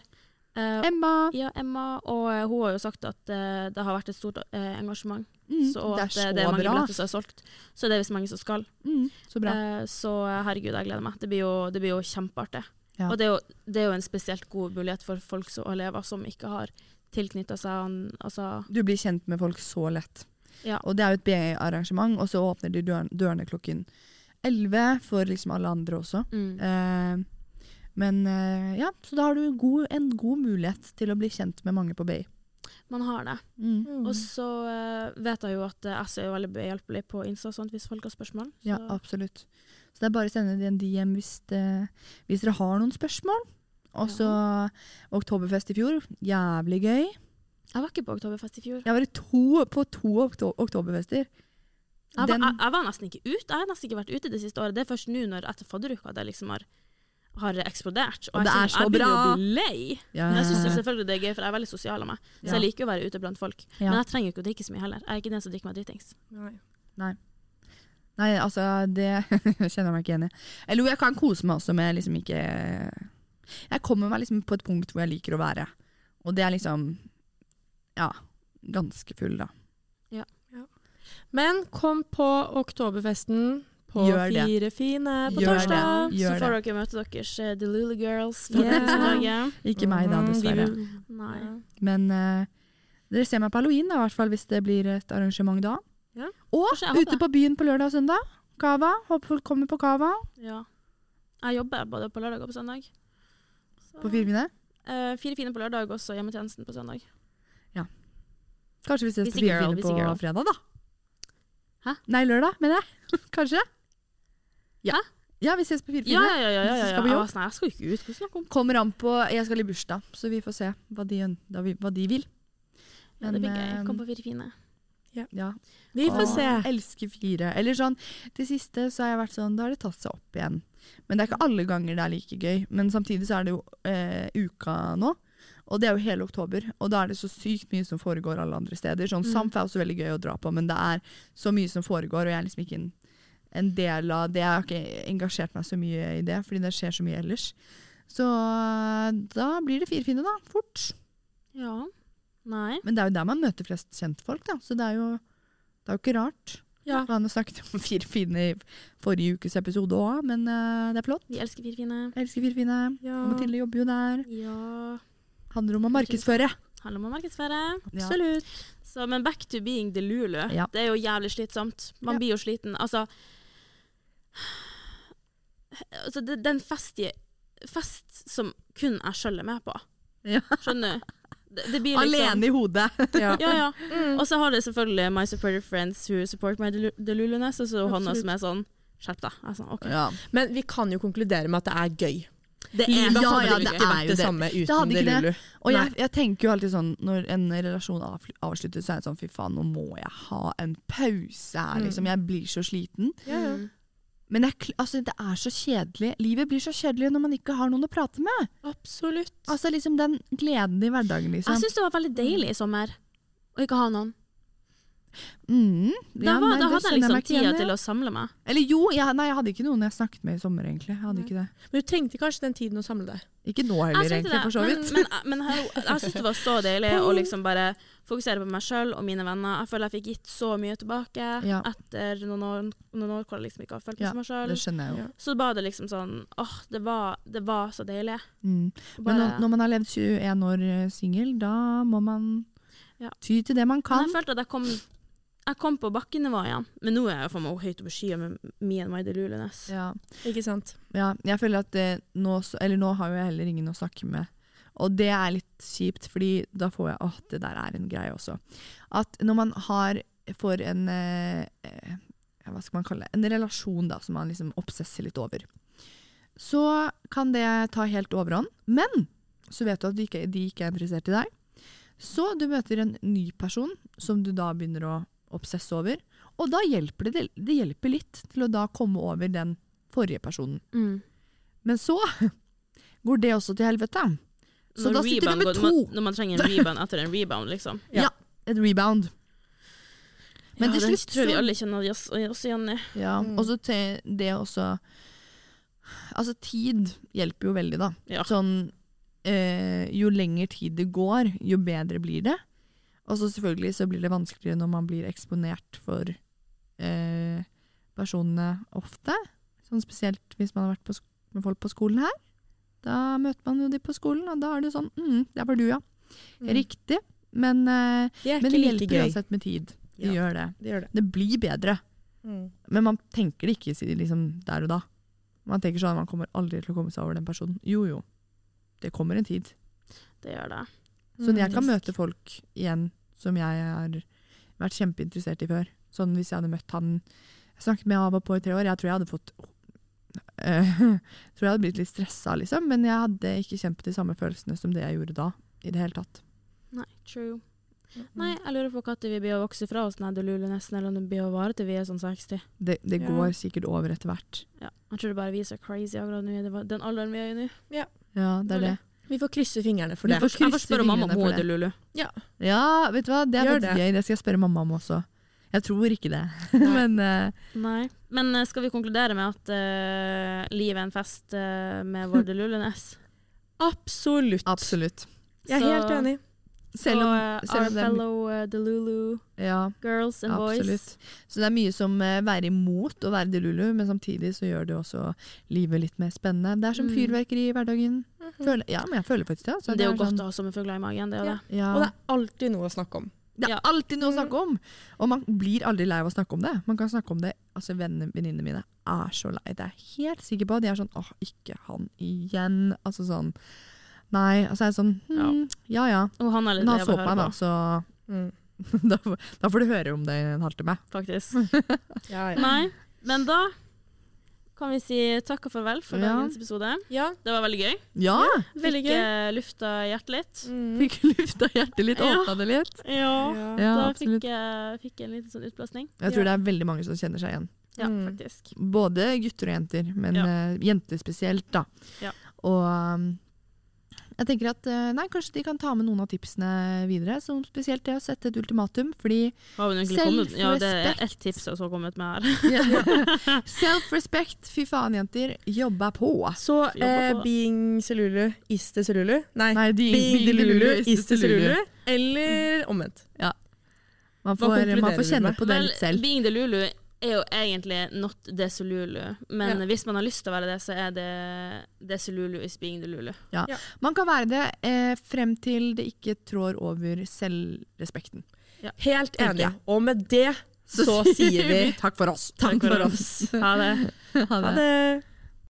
S1: eh,
S2: Emma!
S1: ja, Emma, og eh, hun har jo sagt at eh, det har vært et stort eh, engasjement.
S2: Mm,
S1: Så, og
S2: det
S1: at
S2: er så
S1: eh, det er mange
S2: bra.
S1: billetter som er solgt. Så det er visst mange som skal.
S2: Mm, så bra.
S1: Eh, så eh, herregud, jeg gleder meg. Det blir jo, det blir jo kjempeartig.
S2: Ja.
S1: Og det er, jo, det er jo en spesielt god mulighet for folk som og elever som ikke har tilknytta seg han, altså,
S2: Du blir kjent med folk så lett.
S1: Ja.
S2: Og det er jo et BI-arrangement, og så åpner de dørene, dørene klokken 11 for liksom alle andre også.
S1: mm.
S2: Eh, men eh, ja, så da har du god, en god mulighet til å bli kjent med mange på BI.
S1: Man har det.
S2: Mm.
S1: Og så eh, vet jeg jo at eh, SU er jo veldig behjelpelig på Insta og sånt, hvis folk har spørsmål.
S2: Ja,
S1: Så-
S2: absolutt. Så det er bare å sende en DM hvis, det, hvis dere har noen spørsmål. Og så Oktoberfest i fjor. Jævlig gøy.
S1: jeg var ikke på Oktoberfest i fjor.
S2: Jeg var i to, på to okto oktoberfester.
S1: Jeg,
S2: Den-
S1: var, jeg, jeg var nesten ikke ute. Jeg har nesten ikke vært ute det siste året. Det er først nå når etter fadderuka det liksom har, har eksplodert.
S2: Og det
S1: jeg,
S2: er
S1: kjenner-
S2: så
S1: jeg begynner
S2: bra.
S1: å bli lei.
S2: Ja.
S1: Men jeg syns selvfølgelig det er gøy, for jeg er veldig sosial av meg. Så
S2: Ja.
S1: jeg liker å være ute blant folk.
S2: Ja.
S1: Men jeg trenger jo ikke å drikke så mye heller. Jeg er ikke den som drikker meg dritings.
S3: Nei.
S2: Nei, altså, det kjenner jeg meg ikke igjen i. Eller jo, jeg kan kose meg også med liksom ikke Jeg kommer meg liksom på et punkt hvor jeg liker å være. Og det er liksom Ja, ganske full, da.
S3: Men kom på Oktoberfesten på
S2: Gjør det.
S3: Fire fine på
S2: Gjør
S3: torsdag.
S2: det. Gjør
S1: så får dere møte deres eh, The Lulu Girls fra
S3: Yeah.
S1: Kristianslaget.
S2: Ikke meg, da,
S1: Mhm,
S3: Mm, vi
S2: dessverre.
S3: vil-
S1: Nei.
S2: Men eh, dere ser meg på halloween, da, i hvert fall hvis det blir et arrangement da.
S3: Ja.
S2: Og
S1: Kanskje jeg håper
S2: ute på byen på lørdag og søndag. Cava. Håper folk kommer på Cava
S1: Ja. Jeg jobber både på lørdag og på søndag. Så-
S2: på Firmine.
S1: Eh, fire fine på lørdag, også hjemmetjenesten på søndag.
S2: Kanskje vi ses
S1: Busy
S2: på Firmine
S1: girl, busy
S2: på
S1: girl.
S2: fredag, da.
S1: Hæ?
S2: Nei, lørdag, mener jeg. Kanskje.
S1: Hæ?
S2: Ja, vi ses på Firfine.
S1: Ja, ja, ja. ja, ja, ja.
S2: Skal
S1: Jeg,
S2: vi
S1: var sånn, jeg skal jo ikke ut. Hva snakker du om?
S2: Kommer an på Jeg skal i bursdag, så vi får se hva de, øn- da vi- hva de vil.
S1: Ja, det blir gøy.
S2: Men, eh,
S1: Kom på Fire fine.
S2: Ja.
S3: Vi får
S2: Åh,
S3: se.
S2: Elsker fire. Eller sånn, det siste så har jeg vært sånn, da har det tatt seg opp igjen. Men det er ikke alle ganger det er like gøy. Men samtidig så er det jo eh, uka nå, og det er jo hele oktober. Og da er det så sykt mye som foregår alle andre steder. Sånn,
S1: Mm.
S2: Samf er også veldig gøy å dra på, men det er så mye som foregår, og jeg er liksom ikke en, en del av det. Jeg har ikke engasjert meg så mye i det, fordi det skjer så mye ellers. Så da blir det fire fine, da. Fort.
S1: Ja. Nei.
S2: Men det er jo der man møter flest kjentfolk, da. Så det er jo, det er jo ikke rart.
S3: Ja.
S2: Han har snakket om fire fine i forrige ukes episode òg, men eh, det er flott.
S1: Vi elsker Fire fine.
S2: Jeg elsker fire fine.
S3: Ja.
S2: Og Mathilde jobber jo der.
S1: Ja.
S2: Handler om å markedsføre.
S1: Handler om å markedsføre.
S2: Ja.
S3: Absolutt.
S1: Så, men back to being the Lulu.
S2: Ja.
S1: Det er jo jævlig slitsomt. Man
S2: Ja.
S1: blir jo sliten. Altså, altså det, Den festige Fest som kun jeg sjøl er med på.
S2: Ja.
S1: Skjønner du? Det, det blir liksom,
S2: Alene i Mm. hodet.
S3: Ja.
S1: Ja, ja. Og så har du selvfølgelig My Supportive Friends Who Support My Delu- Deluluness, og så Hanna
S3: Absolutt.
S1: som er sånn Skjerp deg. Jeg er sånn, ok.
S2: Ja.
S3: Men vi kan jo konkludere med at det er gøy.
S1: Det
S3: Livet
S2: ja,
S3: hadde
S2: ja,
S3: ikke
S2: det er
S3: vært
S2: jo
S3: det
S2: det.
S3: samme
S2: Det hadde
S3: uten det,
S2: ikke det.
S3: Lulu.
S2: Og jeg, jeg tenker jo alltid sånn når en relasjon avsl- avsluttes, så er jeg
S3: Mm.
S2: sånn fy faen, nå må jeg ha en pause her, liksom. Jeg blir så sliten. Men det er, kl- altså, det er så kjedelig. Livet blir så kjedelig når man ikke har noen å prate med.
S3: Absolutt.
S2: Altså liksom Den gleden i hverdagen, liksom.
S1: Jeg syns det var veldig deilig i sommer å ikke ha noen.
S2: mm,
S1: Da,
S2: ja,
S1: var,
S2: nei,
S1: da hadde
S2: det skjønner
S1: jeg liksom
S2: meg ikke igjen
S1: tida
S2: i.
S1: til å samle meg.
S2: Eller jo, jeg, nei, jeg hadde ikke noen jeg snakket med i sommer, egentlig. Jeg hadde ikke det.
S3: Men du trengte kanskje den tiden å samle deg.
S2: Ikke nå
S1: Jeg
S2: heller,
S1: tenkte
S2: egentlig,
S1: det,
S2: for så vidt.
S1: Men, eh, men, men hallo, jeg syns det var så deilig å liksom bare fokusere på meg sjøl og mine venner. Jeg føler jeg fikk gitt så mye tilbake
S2: Ja.
S1: etter noen år, noen år hvor jeg liksom ikke har følt meg
S2: Ja,
S1: som meg sjøl.
S2: det skjønner jeg jo.
S3: Ja.
S1: Så var det liksom sånn åh, det var, det var så deilig.
S2: Mm. Men
S1: Bare,
S2: når, når man har levd 21 år eh, singel, da må man
S1: Ja.
S2: ty til det man
S1: men
S2: kan.
S1: jeg følte at jeg kom, jeg kom på bakkenivå igjen. Men nå er jeg jo for meg høyt over skya med me and my deluliness.
S2: Ja.
S3: Ikke sant?
S2: Ja, jeg føler at eh, nå, s- eller nå har jo jeg heller ingen å snakke med. Og det er litt kjipt, fordi da får jeg Åh, det der er en greie også. At når man har får en eh, eh, Hva skal man kalle det? En relasjon da, som man liksom obsesser litt over. Så kan det ta helt overhånd. Men så vet du at de ikke, de ikke er interessert i deg. Så du møter en ny person som du da begynner å obsesse over. Og da hjelper det, det hjelper litt til å da komme over den forrige personen.
S1: Mm.
S2: Men så går det også til helvete. Så
S1: Når
S2: da sitter
S1: rebound
S2: du med
S1: går-
S2: to.
S1: Når man, når man trenger en rebound etter en rebound, liksom.
S2: Ja. Et rebound. Men til
S1: det
S2: slutt
S1: tror jeg vi
S2: så-
S1: alle kjenner oss, oss igjen i.
S2: Ja, Og så til det også Altså, tid hjelper jo veldig, da.
S1: Ja.
S2: Sånn eh, Jo lenger tid det går, jo bedre blir det. Og så selvfølgelig så blir det vanskeligere når man blir eksponert for eh, personene ofte. Sånn spesielt hvis man har vært på sk med folk på skolen her. Da møter man jo de på skolen, og da er det sånn mm, Der var du, ja. Riktig. Men, eh,
S3: Det er
S2: men det
S3: ikke like
S2: hjelper
S3: gøy.
S2: uansett med tid. Det
S3: Ja.
S2: gjør det.
S3: Det gjør det.
S2: Det blir bedre. Men man tenker det ikke si- liksom, der og da. Man tenker sånn at man kommer aldri til å komme seg over den personen. Jo, jo. Det kommer en tid.
S1: Det gjør det.
S2: Så jeg kan
S1: Mm.
S2: møte folk igjen som jeg har vært kjempeinteressert i før. Sånn hvis jeg hadde møtt han Jeg snakket med av og på i tre år. Jeg tror jeg hadde fått eh, Tror jeg hadde blitt litt stressa, liksom. Men jeg hadde ikke kjent på de samme følelsene som det jeg gjorde da. I det hele tatt.
S1: Nei, true. Nei, jeg lurer på når vi blir å vokse fra oss den nesten, eller om det blir å vare til vi er sånn 60.
S2: Det, det
S3: Ja.
S2: går sikkert over etter hvert.
S1: Ja. Jeg tror det bare vi er så crazy akkurat nå, i det- den alderen vi er i nå.
S2: Ja, det er det.
S3: Vi får krysse fingrene for
S2: Vi
S3: det.
S2: får
S1: Jeg får spørre mamma om
S2: fingrene
S1: hun
S2: for
S1: er
S2: det.
S1: delulu.
S2: Ja, vet du hva? Det er
S3: Gjør
S2: faktisk
S3: det.
S2: gøy. Det skal jeg spørre mamma om også. Jeg tror ikke det. Men eh,
S1: Nei. Men eh, skal vi konkludere med at eh, livet er en fest eh, med vår deluliness?
S3: Absolutt.
S2: absolutt.
S3: Jeg er
S1: Så-
S3: helt enig.
S2: Selv om,
S1: Og, eh,
S2: selv
S1: our
S2: om det er my-
S1: fellow eh, delulu
S2: ja,
S1: girls and
S2: absolutt.
S1: boys.
S2: Så det er mye som eh, være imot å være delulu, men samtidig så gjør det også livet litt mer spennende. Det er som
S1: Mm. Mhm.
S2: fyrverkeri i hverdagen. Føler, ja, men jeg føler faktisk det. altså.
S1: Det er jo godt
S2: sånn-
S1: å ha sommerfugler i magen, det er jo
S3: Ja.
S1: det.
S2: ja.
S3: Og det er alltid noe å snakke om.
S2: Det er
S1: Ja. Mm.
S2: alltid noe å snakke om! Og man blir aldri lei av å snakke om det. Man kan snakke om det, altså vennene- Venninnene mine er så lei. Det er jeg helt sikker på. De er sånn 'Åh, ikke han igjen'. Altså sånn Nei. Altså jeg er sånn hm, Ja ja.
S1: Og han er litt
S2: Men han
S1: lei av
S2: så
S1: å
S2: på meg, da,
S1: høre på,
S2: så
S3: Mm.
S2: da, får- da får du høre om det i en halvtime.
S1: faktisk.
S3: Ja, ja.
S1: Nei, men da kan vi si takk og farvel for
S2: Ja.
S1: dagens episode.
S3: ja.
S1: Det var veldig gøy.
S2: Ja!
S1: Fikk
S3: Veldig gøy.
S1: eh, lufta hjertet litt.
S3: Mm.
S2: Fikk lufta hjertet litt,
S1: Ja.
S2: åpna det litt.
S1: Ja.
S3: Ja.
S1: Da
S2: Ja,
S1: fikk
S2: absolutt.
S1: eh, fikk jeg en liten sånn utblåsning.
S2: Jeg tror det er veldig mange som kjenner seg igjen.
S1: Ja,
S3: Mm.
S1: faktisk.
S2: Både gutter og jenter, men
S1: Ja.
S2: eh, jenter spesielt, da.
S1: Ja.
S2: Og um, jeg tenker at eh, nei, kanskje de kan ta med noen av tipsene videre, som spesielt det å sette et ultimatum. Fordi
S1: Har vi egentlig kommet? Ja, det er ett tips jeg så kommet med her.
S2: self-respect, fy faen, jenter, jobba på.
S3: Så eh,
S1: Jobber på.
S3: being Selulu is the Selulu? Nei,
S2: Nei, de,
S3: being
S2: de
S3: Delulu
S2: lulu,
S3: is the Selulu.
S2: lulu. mm.
S3: Eller omvendt.
S2: Man får, man
S3: Hva konkluderer
S2: får
S3: du
S2: kjenne
S3: med?
S2: på det litt selv.
S1: Being the Lulu er jo egentlig not the Sululu, men
S3: Ja.
S1: hvis man har lyst til å være det, så er det the Sululu is being the Lulu.
S2: Man kan være det eh, frem til det ikke trår over selvrespekten.
S3: Helt
S2: Tenker
S3: enig.
S2: jeg.
S3: Og med det så sier vi
S2: takk for oss.
S3: takk for oss.
S1: Ha det.
S2: Ha det.
S3: det.